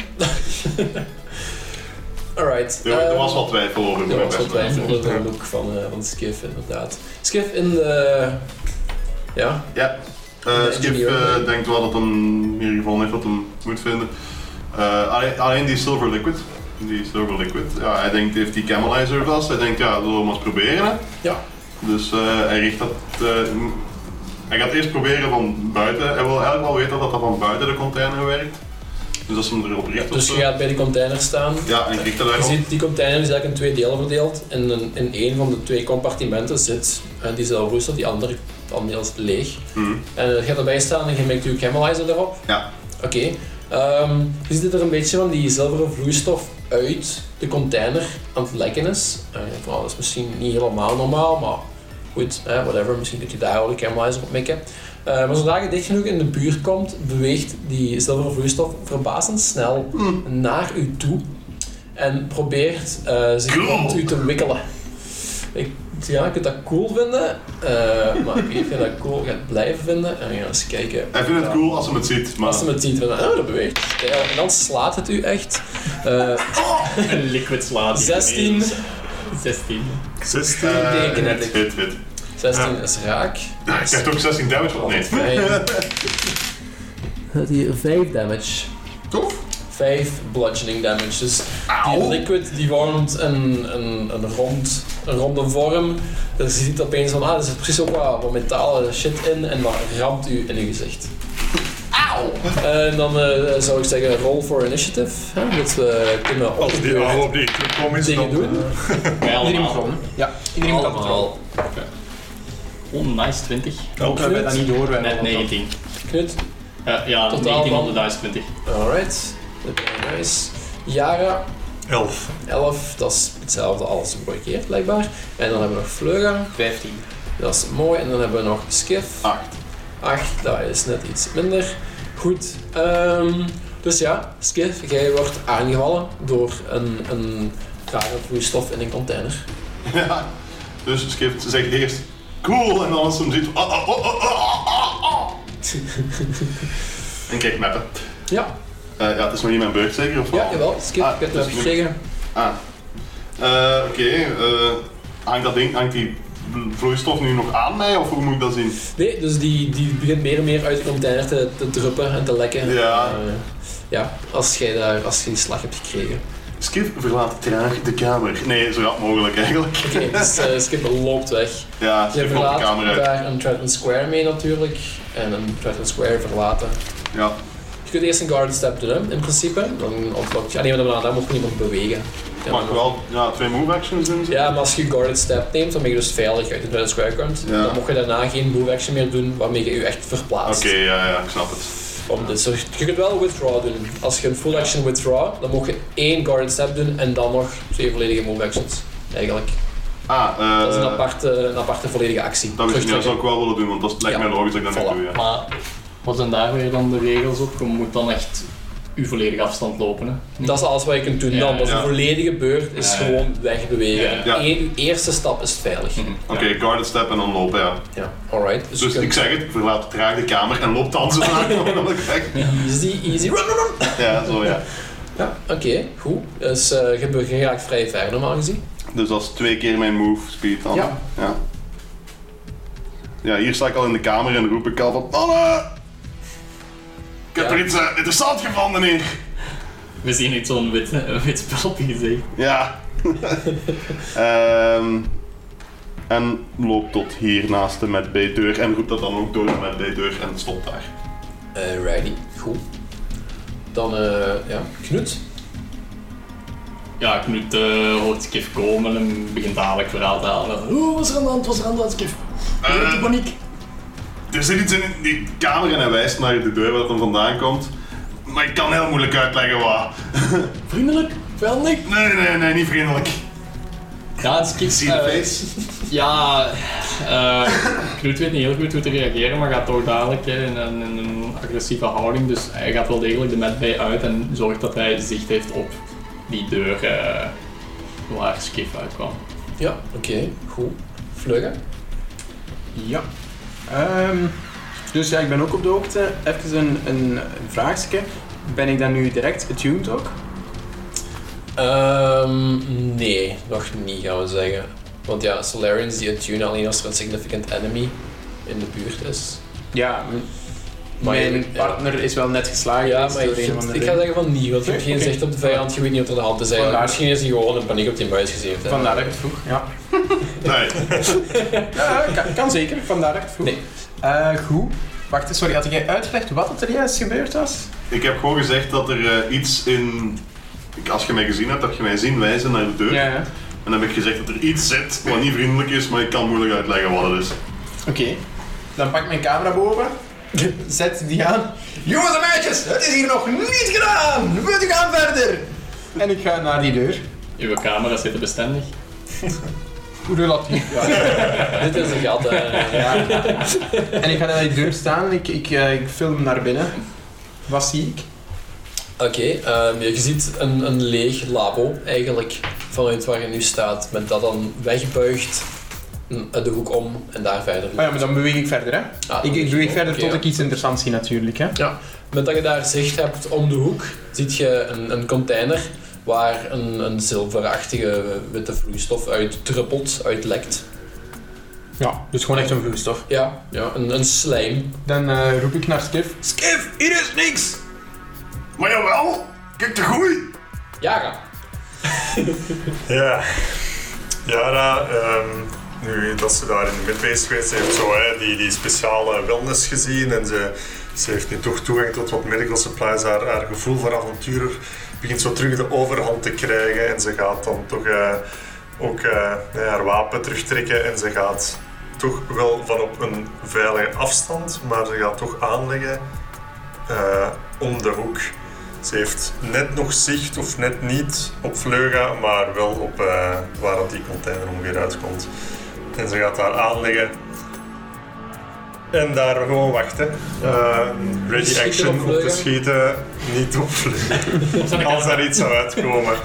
S1: *laughs* Alright.
S3: Er, er
S1: ehm,
S3: was wel twijfel over
S1: Ja,
S3: mijn
S1: dat is wel
S3: personage.
S1: twijfel over de look van, eh, van Skiff, inderdaad. Skiff in de... Ja,
S3: Eh
S1: De
S3: Skip
S1: engineer.
S3: eh, denkt wel dat hem hier gevonden heeft wat hem moet vinden. Eh, alleen, alleen die Silver Liquid. Die Silver Liquid. Ja, hij denkt, heeft die Camelizer vast. Hij denkt, ja, dat zullen we maar eens proberen. Hè.
S1: Ja.
S3: Dus eh, hij richt dat... eh, m- hij gaat eerst proberen van buiten. Hij wil eigenlijk wel weten dat dat van buiten de container werkt. Dus als ze hem erop richt of
S1: dus je
S3: zo.
S1: gaat bij die container staan.
S3: Ja, en ik richt dat
S1: Je
S3: daarop.
S1: ziet, die container is eigenlijk in twee delen verdeeld. En in, in één van de twee compartimenten zit eh, die zelfroester, die andere, het andere is leeg.
S3: Mhm.
S1: En eh, je gaat erbij staan en je merkt je camelizer erop.
S3: Ja.
S1: Oké. Ehm, je ziet dat er een beetje van die zilveren vloeistof uit de container aan het lekken is. En je denkt, "Oh, dat is misschien niet helemaal normaal, maar goed, hè, whatever. Misschien dat je daar wel de camelizer op mikken. Eh, maar zodra je dicht genoeg in de buurt komt, beweegt die zilveren vloeistof verbazend snel naar u toe. En probeert eh, zich
S3: Cool.
S1: rond u te wikkelen. Ik ja, je kunt dat cool vinden, eh, maar ik vind dat cool gaat blijven vinden. En we gaan eens kijken.
S3: Hij vindt het cool als hij het ziet, maar...
S1: Als ze het ziet, van, oh, dat beweegt. Stijl. En dan slaat het u echt. Eh,
S2: Een liquid slaat. die
S1: 16.
S2: erin. 16.
S3: 16
S6: Eh,
S1: Teken heb
S3: hit,
S1: ik.
S3: hit, hit.
S1: 16 is raak.
S3: Hij krijgt ook 16 damage op. Nee.
S6: *laughs*
S1: Vijf. Dat hier 5 damage.
S3: Tof.
S1: 5 bludgeoning damage. Dus die
S3: Auw.
S1: liquid die vormt een, een, een, rond, een ronde vorm. Dus je ziet opeens van, ah, er zit precies ook wat, wat metalen shit in en dat ramt u in uw gezicht. Auw! En dan eh, zou ik zeggen, roll for initiative. Hè, dat we kunnen
S6: Als die oude
S1: opgebeurd
S6: op die intro komen is,
S1: dingen
S6: dan...
S1: doen.
S2: Wij
S5: Iedereen moet
S2: allemaal.
S5: rollen. Ja, iedereen moet altijd rollen.
S2: Allemaal. Oké. Oh, nice 20.
S6: Ook
S5: We hebben dat niet door, wij
S2: Net
S5: rollen dat.
S2: 19.
S1: Knut.
S2: Eh, ja,
S1: Totaal
S2: 19
S1: van-
S2: op de dice 20.
S1: Alright. Dat ben je nice. Yara,
S6: 11.
S1: 11. Dat is hetzelfde als vorige keer, blijkbaar. En dan hebben we nog Fleuga.
S5: 15.
S1: Dat is mooi. En dan hebben we nog Skiff.
S3: Acht.
S1: 8, dat is net iets minder. Goed, ehm, dus ja, Skiff, jij wordt aangevallen door een, een rare vloeistof in een container.
S3: Ja. Dus Skip zegt eerst cool en dan als ze hem ziet. ah, ah, ah, ah, ah, ah,
S1: *laughs*
S3: ah. En kijk mappen.
S1: Ja,
S3: Eh, ja, het is nog niet mijn beurt zeker of wel?
S1: ja jawel, Skiff,
S3: Ah,
S1: je hebt
S3: dus
S1: hem
S3: nu-
S1: gekregen.
S3: Ah. Eh, Oké, eh, hangt dat ding, hangt die vloeistof nu nog aan mij of hoe moet ik dat zien?
S1: Nee, dus die, die begint meer en meer uit de container te, te druppen en te lekken.
S3: Ja.
S1: Eh, ja, als jij, daar, als je die slag hebt
S3: *laughs*
S1: gekregen.
S3: Skip verlaat traag de kamer. Nee, zo rap mogelijk eigenlijk.
S1: Oké, dus eh, Skip loopt weg.
S3: *laughs* Ja,
S1: Je
S3: Skip loopt de kamer
S1: verlaat
S3: uit.
S1: daar een Trenton Square mee natuurlijk. En een Trenton Square verlaten.
S3: Ja.
S1: Je kunt eerst een guard step doen, hè, in principe. Dan ontlokt je. Ah, nee, maar dan, dan mocht niemand bewegen. Ja,
S3: Mag ik wel ja, twee move actions doen? zo?
S1: Ja, maar als je guarded step neemt, dan ben je dus veilig uit de Dreaded Square komt.
S3: Ja.
S1: Dan mocht je daarna geen move action meer doen waarmee je je echt
S3: Oké,
S1: verplaatst.
S3: ja, ja, ik snap het.
S1: Om dit soort- je kunt wel withdraw doen. Als je een full action withdraw, dan mocht je één guarded step doen en dan nog twee volledige move actions. Eigenlijk.
S3: Ah, eh
S1: Dat is een aparte, een aparte volledige actie.
S3: dat, wist ik niet, dat
S1: Terugtrekken.
S3: zou ik wel willen doen, want dat lijkt
S1: Ja.
S3: mij logisch dat ik dat niet
S1: Voilà.
S3: doe. Ja.
S2: Maar wat zijn daar weer dan de regels op? Je moet dan echt uw volledige afstand lopen. Hè?
S1: Dat is alles wat je kunt doen
S2: Ja,
S1: dan. Dat is
S3: ja.
S1: een volledige beurt, is
S2: Ja.
S1: gewoon wegbewegen.
S2: Ja.
S3: Ja.
S1: Eén- uw eerste stap is veilig.
S2: Mhm.
S3: Oké, guarded step en dan lopen, ja.
S1: Ja, alright. Dus,
S3: Dus
S1: je
S3: ik
S1: kunt
S3: zeg het, verlaat traag de kamer en loopt dan
S1: *laughs*
S3: zo vaak mogelijk weg.
S1: easy, easy, run, run, run.
S3: Ja, zo ja.
S1: Ja, oké, goed. Dus eh, je be- je raakt vrij ver normaal gezien.
S3: Dus dat is twee keer mijn move speed dan.
S1: Ja.
S3: ja. Ja, hier sta ik al in de kamer en roep ik al van Anne! Ik heb
S1: Ja.
S3: er iets eh, interessants gevonden hier!
S2: We zien niet zo'n wit, *laughs* een wit spelpje gezegd.
S3: Ja. Ehm, en loop tot hier naast de met B-deur en roep dat dan ook door de met B-deur en stopt daar.
S1: Alrighty, Eh, goed. Dan, eh, ja, Knut.
S2: Ja, Knut eh hoort Skif komen en begint dadelijk verhaal te halen. Oeh, wat is er aan de hand? Wat is er aan de hand, Skif?
S3: Eh.
S2: Uh, de paniek.
S3: Er zit iets in die kamer en hij wijst naar de deur waar dat dan vandaan komt. Maar ik kan heel moeilijk uitleggen wat.
S2: Vriendelijk? Veilig?
S3: Nee, nee, nee, niet vriendelijk.
S2: Ja, en Skif...
S3: Zie de
S2: eh,
S3: face?
S2: Ja, eh Knut weet niet heel goed hoe te reageren, maar gaat toch dadelijk hè, in, een, in een agressieve houding. Dus hij gaat wel degelijk de met bij uit en zorgt dat hij zicht heeft op die deur eh, waar Skif uitkwam.
S1: Ja, oké, goed. Vluggen.
S4: Ja. Ehm, dus ja, ik ben ook op de hoogte. Even een, een vraagje. Ben ik dan nu direct attuned ook?
S1: Ehm, nee, nog niet gaan we zeggen. Want ja, Solarians die attunen alleen als er een significant enemy in de buurt is.
S4: Ja, m-
S1: Maar
S4: mijn
S1: je- ja.
S4: partner is wel net geslagen.
S1: Ja,
S4: dus
S1: maar
S4: door
S1: ik,
S4: een van de
S1: ik ga
S4: dingen.
S1: zeggen van niet, want je hebt geen
S4: Oké.
S1: zicht op de vijand, je weet niet wat er aan de hand is. eigenlijk.
S4: Vandaar.
S1: Misschien is hij gewoon in paniek op die muis gezeten. hè.
S4: Vandaar dat ik het vroeg. Ja,
S3: Nee.
S4: ja kan, kan zeker. Vandaar dat ik het vroeg.
S1: Nee.
S4: Eh, goed. Wacht, sorry, had jij uitgelegd wat het er juist gebeurd was?
S3: Ik heb gewoon gezegd dat er eh, iets in. Ik- Als je mij gezien hebt, heb je mij zien wijzen naar de deur.
S4: Ja, ja.
S3: En dan heb ik gezegd dat er iets zit wat niet vriendelijk is, maar ik kan moeilijk uitleggen wat het is.
S4: Oké. Dan pak ik mijn camera boven. Zet die aan. Jongens en meisjes, het is hier nog niet gedaan! We gaan verder! En ik ga naar die deur.
S2: Uw camera's zitten bestendig.
S4: Hoe doe dat hier? Ja.
S1: Dit is een gat. eh. hè.
S4: *laughs* Ja. En ik ga naar die deur staan en ik, ik, eh, ik film naar binnen. Wat zie ik?
S1: *laughs* Oké, ehm, je ziet een, een leeg labo eigenlijk vanuit waar je nu staat. Met dat dan wegbuigt eh, de hoek om en daar verder.
S4: Oh ja, maar dan beweeg ik verder, hè?
S1: Ah,
S4: Ik, ik beweeg verder
S1: oké,
S4: tot
S1: ja.
S4: ik iets interessants zie, natuurlijk, hè?
S1: Met dat je daar zicht hebt om de hoek, ziet je een, een container waar een, een zilverachtige witte vloeistof uit druppelt, uit lekt.
S4: Ja, dus gewoon echt een vloeistof.
S1: Ja, ja een, een slijm.
S4: Dan eh, roep ik naar Skif. Skif, hier is niks!
S3: Maar jawel, kijk de groei.
S1: Jara.
S7: Ja. Yara, ehm, nu dat ze daar in de mid bezig geweest, ze heeft zo hè, die, die speciale wellness gezien en ze, ze heeft nu toch toegang tot wat medical supplies. Haar, haar gevoel voor avontuur begint zo terug de overhand te krijgen en ze gaat dan toch eh, ook eh, ja, haar wapen terugtrekken en ze gaat toch wel van op een veilige afstand, maar ze gaat toch aanleggen eh, om de hoek. Ze heeft net nog zicht, of net niet, op Vleuga, maar wel op eh, waar dat die container ongeveer uitkomt. En ze gaat daar aanleggen. En daar gewoon wachten. Eh, ready
S1: Schieten op
S7: action op,
S1: Vleuga?
S7: te schieten, niet op Vleuga. Als daar iets zou uitkomen,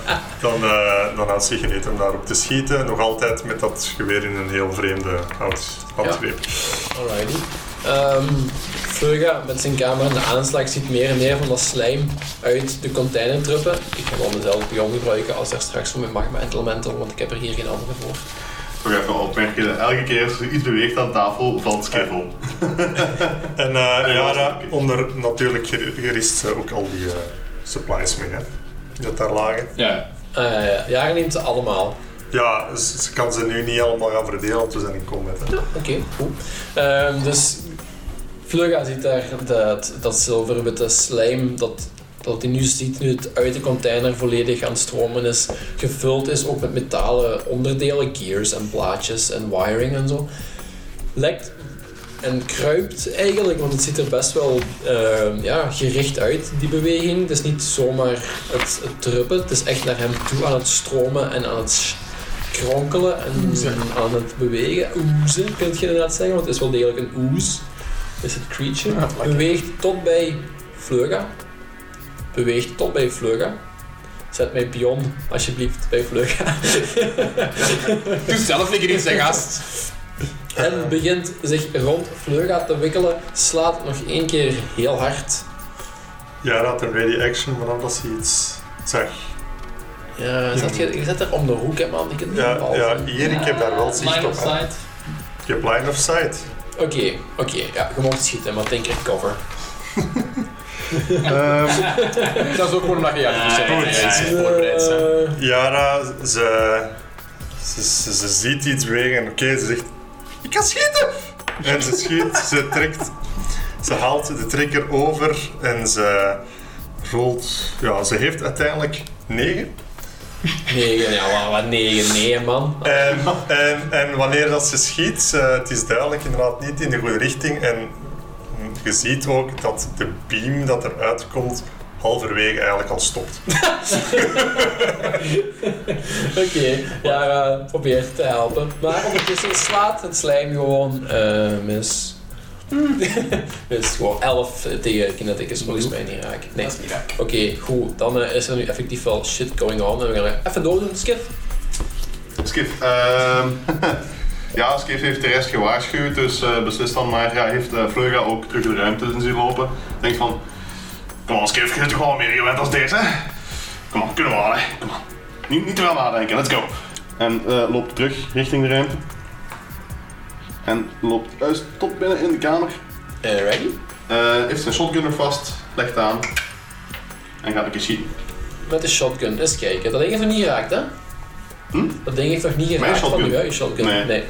S7: dan, eh dan had ze geniet om daarop te schieten. Nog altijd met dat geweer in een heel vreemde hout- handgreep.
S1: Alrighty. Ehm Furga met zijn camera in de aanslag ziet meer en meer van dat slijm uit de container druppen. Ik ga wel dezelfde pion gebruiken als daar straks voor mijn magma elemental, want ik heb er hier geen andere voor.
S3: Toch even opmerken, elke keer als er iets beweegt aan tafel, valt Skip om.
S7: En eh
S3: Ja,
S7: Yara,
S3: oké.
S7: onder natuurlijk ger- gerist ze ook al die eh, supplies mee, hè, die dat daar lagen.
S2: Ja.
S1: Eh Jara neemt ze allemaal.
S7: Ja, ze, ze kan ze nu niet allemaal gaan verdelen, want we zijn in combat. Hè.
S1: Oké, goed. Ehm, dus Flugga ziet daar dat, dat zilverwitte slijm dat, dat hij nu ziet, nu het uit de container volledig aan het stromen is, gevuld is ook met metalen onderdelen, gears en plaatjes en wiring en zo. Lekt en kruipt eigenlijk, want het ziet er best wel ehm, ja, gericht uit, die beweging. Het is niet zomaar het, het druppen, het is echt naar hem toe aan het stromen en aan het sch- kronkelen en aan het bewegen. Oezen, kun je inderdaad zeggen, want het is wel degelijk een oes. Is het creature. beweegt tot bij Fleuga. Beweegt tot bij Fleuga. Zet mijn pion, alsjeblieft, bij Fleuga.
S4: Doe zelf lekker in zijn gast.
S1: En begint zich rond Fleuga te wikkelen. Slaat nog één keer heel hard.
S7: Yara had een ready action vanaf dat ze iets zag.
S1: Ja, zet je, je zet er om de hoek, hè, man. Ik kan niet
S7: Ja,
S1: bal
S7: ja
S1: zien.
S7: hier, ik heb daar wel zicht
S2: Line
S7: op.
S2: of
S7: hè.
S2: sight.
S7: Ik heb line of sight.
S1: Oké, oké. ja, je mocht schieten, maar denk keer cover.
S7: Ehm,
S4: Dat is ook gewoon omdat je
S2: Ja, ja, ja, ja.
S4: ja, voorbereid zijn.
S1: Eh,
S7: Yara, ze, ze, ze, ze ziet iets bewegen en oké, ze zegt... Ik kan schieten! En ze schiet, ze trekt... Ze haalt de trigger over en ze rolt... Ja, ze heeft uiteindelijk 9.
S1: Negen, ja, maar wat negen, nee, man.
S7: En, en, en wanneer dat ze schiet, eh, het is duidelijk inderdaad niet in de goede richting. En mm, je ziet ook dat de beam dat eruit komt, halverwege eigenlijk al stopt.
S1: Oké, ja, eh, probeer te helpen. Maar ondertussen slaat het slijm gewoon eh, mis.
S3: Hmm.
S1: *laughs* mis gewoon 11 tegen kinetic is volgens mij niet raak. Nee.
S4: Dat is niet raak.
S1: Oké, goed. Dan eh, is er nu effectief wel shit going on. En we gaan even doordoen, skip.
S3: Skip, ehm, *laughs* ja, Skip heeft de rest gewaarschuwd, dus eh, beslist dan maar. Ja, heeft eh Fleuga ook terug de ruimte in zien lopen. Denkt van, kom on Skip, je bent toch wel meer gewend als deze? Kom on, kunnen we halen. Kom on. Niet, niet te veel nadenken, let's go. En eh, loopt terug richting de ruimte. En loopt juist tot binnen in de kamer.
S1: Eh, ready?
S3: Eh, heeft zijn shotgun er vast, legt aan. En gaat een keer schieten.
S1: Met de shotgun. Eens kijken. Dat ding heeft nog niet geraakt, hè?
S3: Hm?
S1: Dat ding heeft nog niet geraakt van
S3: shotgun?
S1: nu, hè? Je shotgun.
S3: Nee.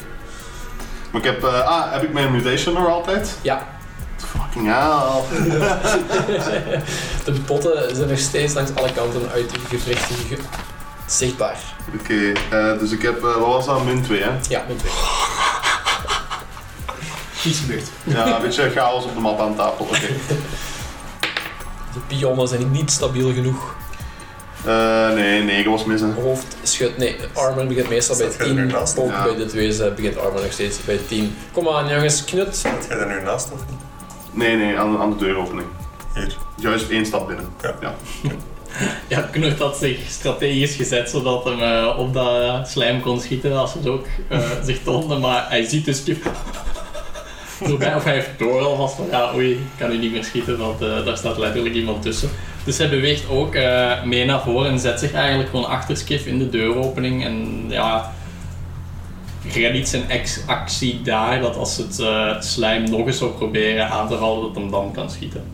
S3: Maar ik heb, eh, ah, heb ik mijn mutation nog altijd?
S1: Ja,
S3: Fucking hell.
S1: de potten zijn nog steeds langs alle kanten uit de gewrichten ge- zichtbaar.
S3: Oké, eh, dus ik heb, eh, wat was dat, min 2 hè?
S1: Ja, met
S4: Niets gebeurd.
S3: Ja, een beetje chaos op de map aan tafel, oké.
S1: De pionnen zijn niet stabiel genoeg.
S3: Eh, nee, 9 was missen.
S1: Hoofd schudt, nee, armor begint meestal bij
S7: Staat er nu
S1: 10.
S7: naast,
S1: Ook
S3: ja.
S1: bij dit wezen begint armor nog steeds bij 10. Kom aan jongens, knut.
S7: Zit jij er nu naast of niet?
S3: Nee, nee, aan, aan de deuropening.
S7: Hier.
S3: Juist één stap binnen.
S7: Ja.
S2: Ja, Knurt had zich strategisch gezet zodat hem eh, op dat eh, slijm kon schieten als het ook eh, zich toonde, maar hij ziet dus *laughs* Kip. Voorbij, of hij heeft door alvast van ja, oei, ik kan u niet meer schieten, want eh, daar staat letterlijk iemand tussen. Dus hij beweegt ook eh, mee naar voren en zet zich eigenlijk gewoon achter Skiff in de deuropening. En ja, redt zijn ex actie daar dat als het eh, slijm nog eens zou proberen aan te vallen, dat hem dan kan schieten.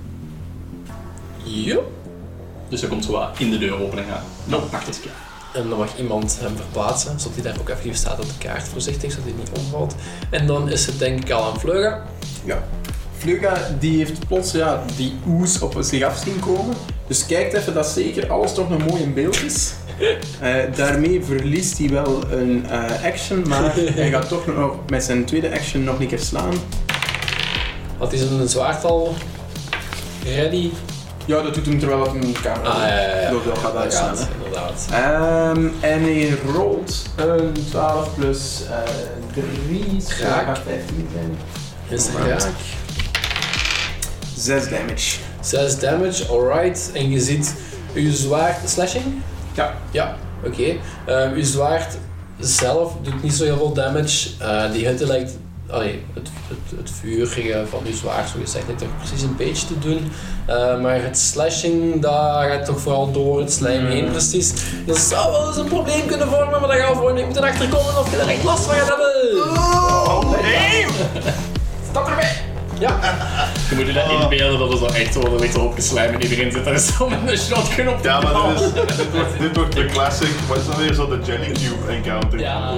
S1: Joep.
S2: Dus hij komt zo wat in de deuropening aan. Dan achter Skiff.
S1: En dan mag iemand hem verplaatsen, zodat hij daar ook even staat op de kaart, voorzichtig, zodat hij niet omvalt. En dan is het denk ik al aan Fleuga.
S4: Vleuga die heeft plots ja, die oes op zich af zien komen. Dus kijkt even dat zeker alles toch nog mooi in beeld *laughs* is. Eh, daarmee verliest hij wel een eh, action, *laughs* maar hij gaat toch nog met zijn tweede action nog een keer slaan.
S1: Had hij zijn zwaard al ready?
S4: Ja, dat doet hem terwijl dat hij in de camera
S1: Ah, ja, ja, ja.
S4: Dat gaat uitslaan. hè.
S1: inderdaad.
S4: Ehm, en hij rolt een 12 plus eh, 3,
S1: Raak.
S4: 15 zijn.
S1: Is er raak.
S4: 6 damage.
S1: 6 damage, alright. En je ziet uw zwaard. Slashing?
S4: Ja.
S1: Ja, oké. Ehm, uw zwaard zelf doet niet zo heel veel damage. Eh, die hitte lijkt. Allee, het, het, het vuurige van uw zwaard, zo gezegd, lijkt er precies een beetje te doen. Eh, maar het slashing, daar gaat toch vooral door het
S2: Mm.
S1: slijm heen, precies. Dat zou wel eens een probleem kunnen vormen, maar daar gaan we gewoon niet moeten achterkomen of je daar echt last van gaat hebben.
S3: Oh, nee!
S1: Stap erbij! Ja.
S2: Je moet je dat inbeelden dat er zo echt zo, er ligt zo opgeslijm en iedereen zit daar zo met een shotgun op te
S3: Ja, maar
S2: knallen.
S3: dit, is, dit, wordt, dit wordt de classic, wat is dat weer, zo de Jelly Cube encounter.
S2: Ja.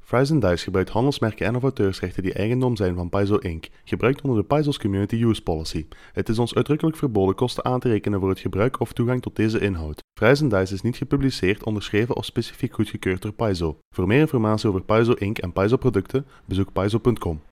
S8: Fries and Dice gebruikt handelsmerken en of auteursrechten die eigendom zijn van Paizo Inc., gebruikt onder de Paizo's Community Use Policy. Het is ons uitdrukkelijk verboden kosten aan te rekenen voor het gebruik of toegang tot deze inhoud. Fries and Dice is niet gepubliceerd, onderschreven of specifiek goedgekeurd door Paizo. Voor meer informatie over Paizo Inc. en Paizo producten, bezoek paizo.com.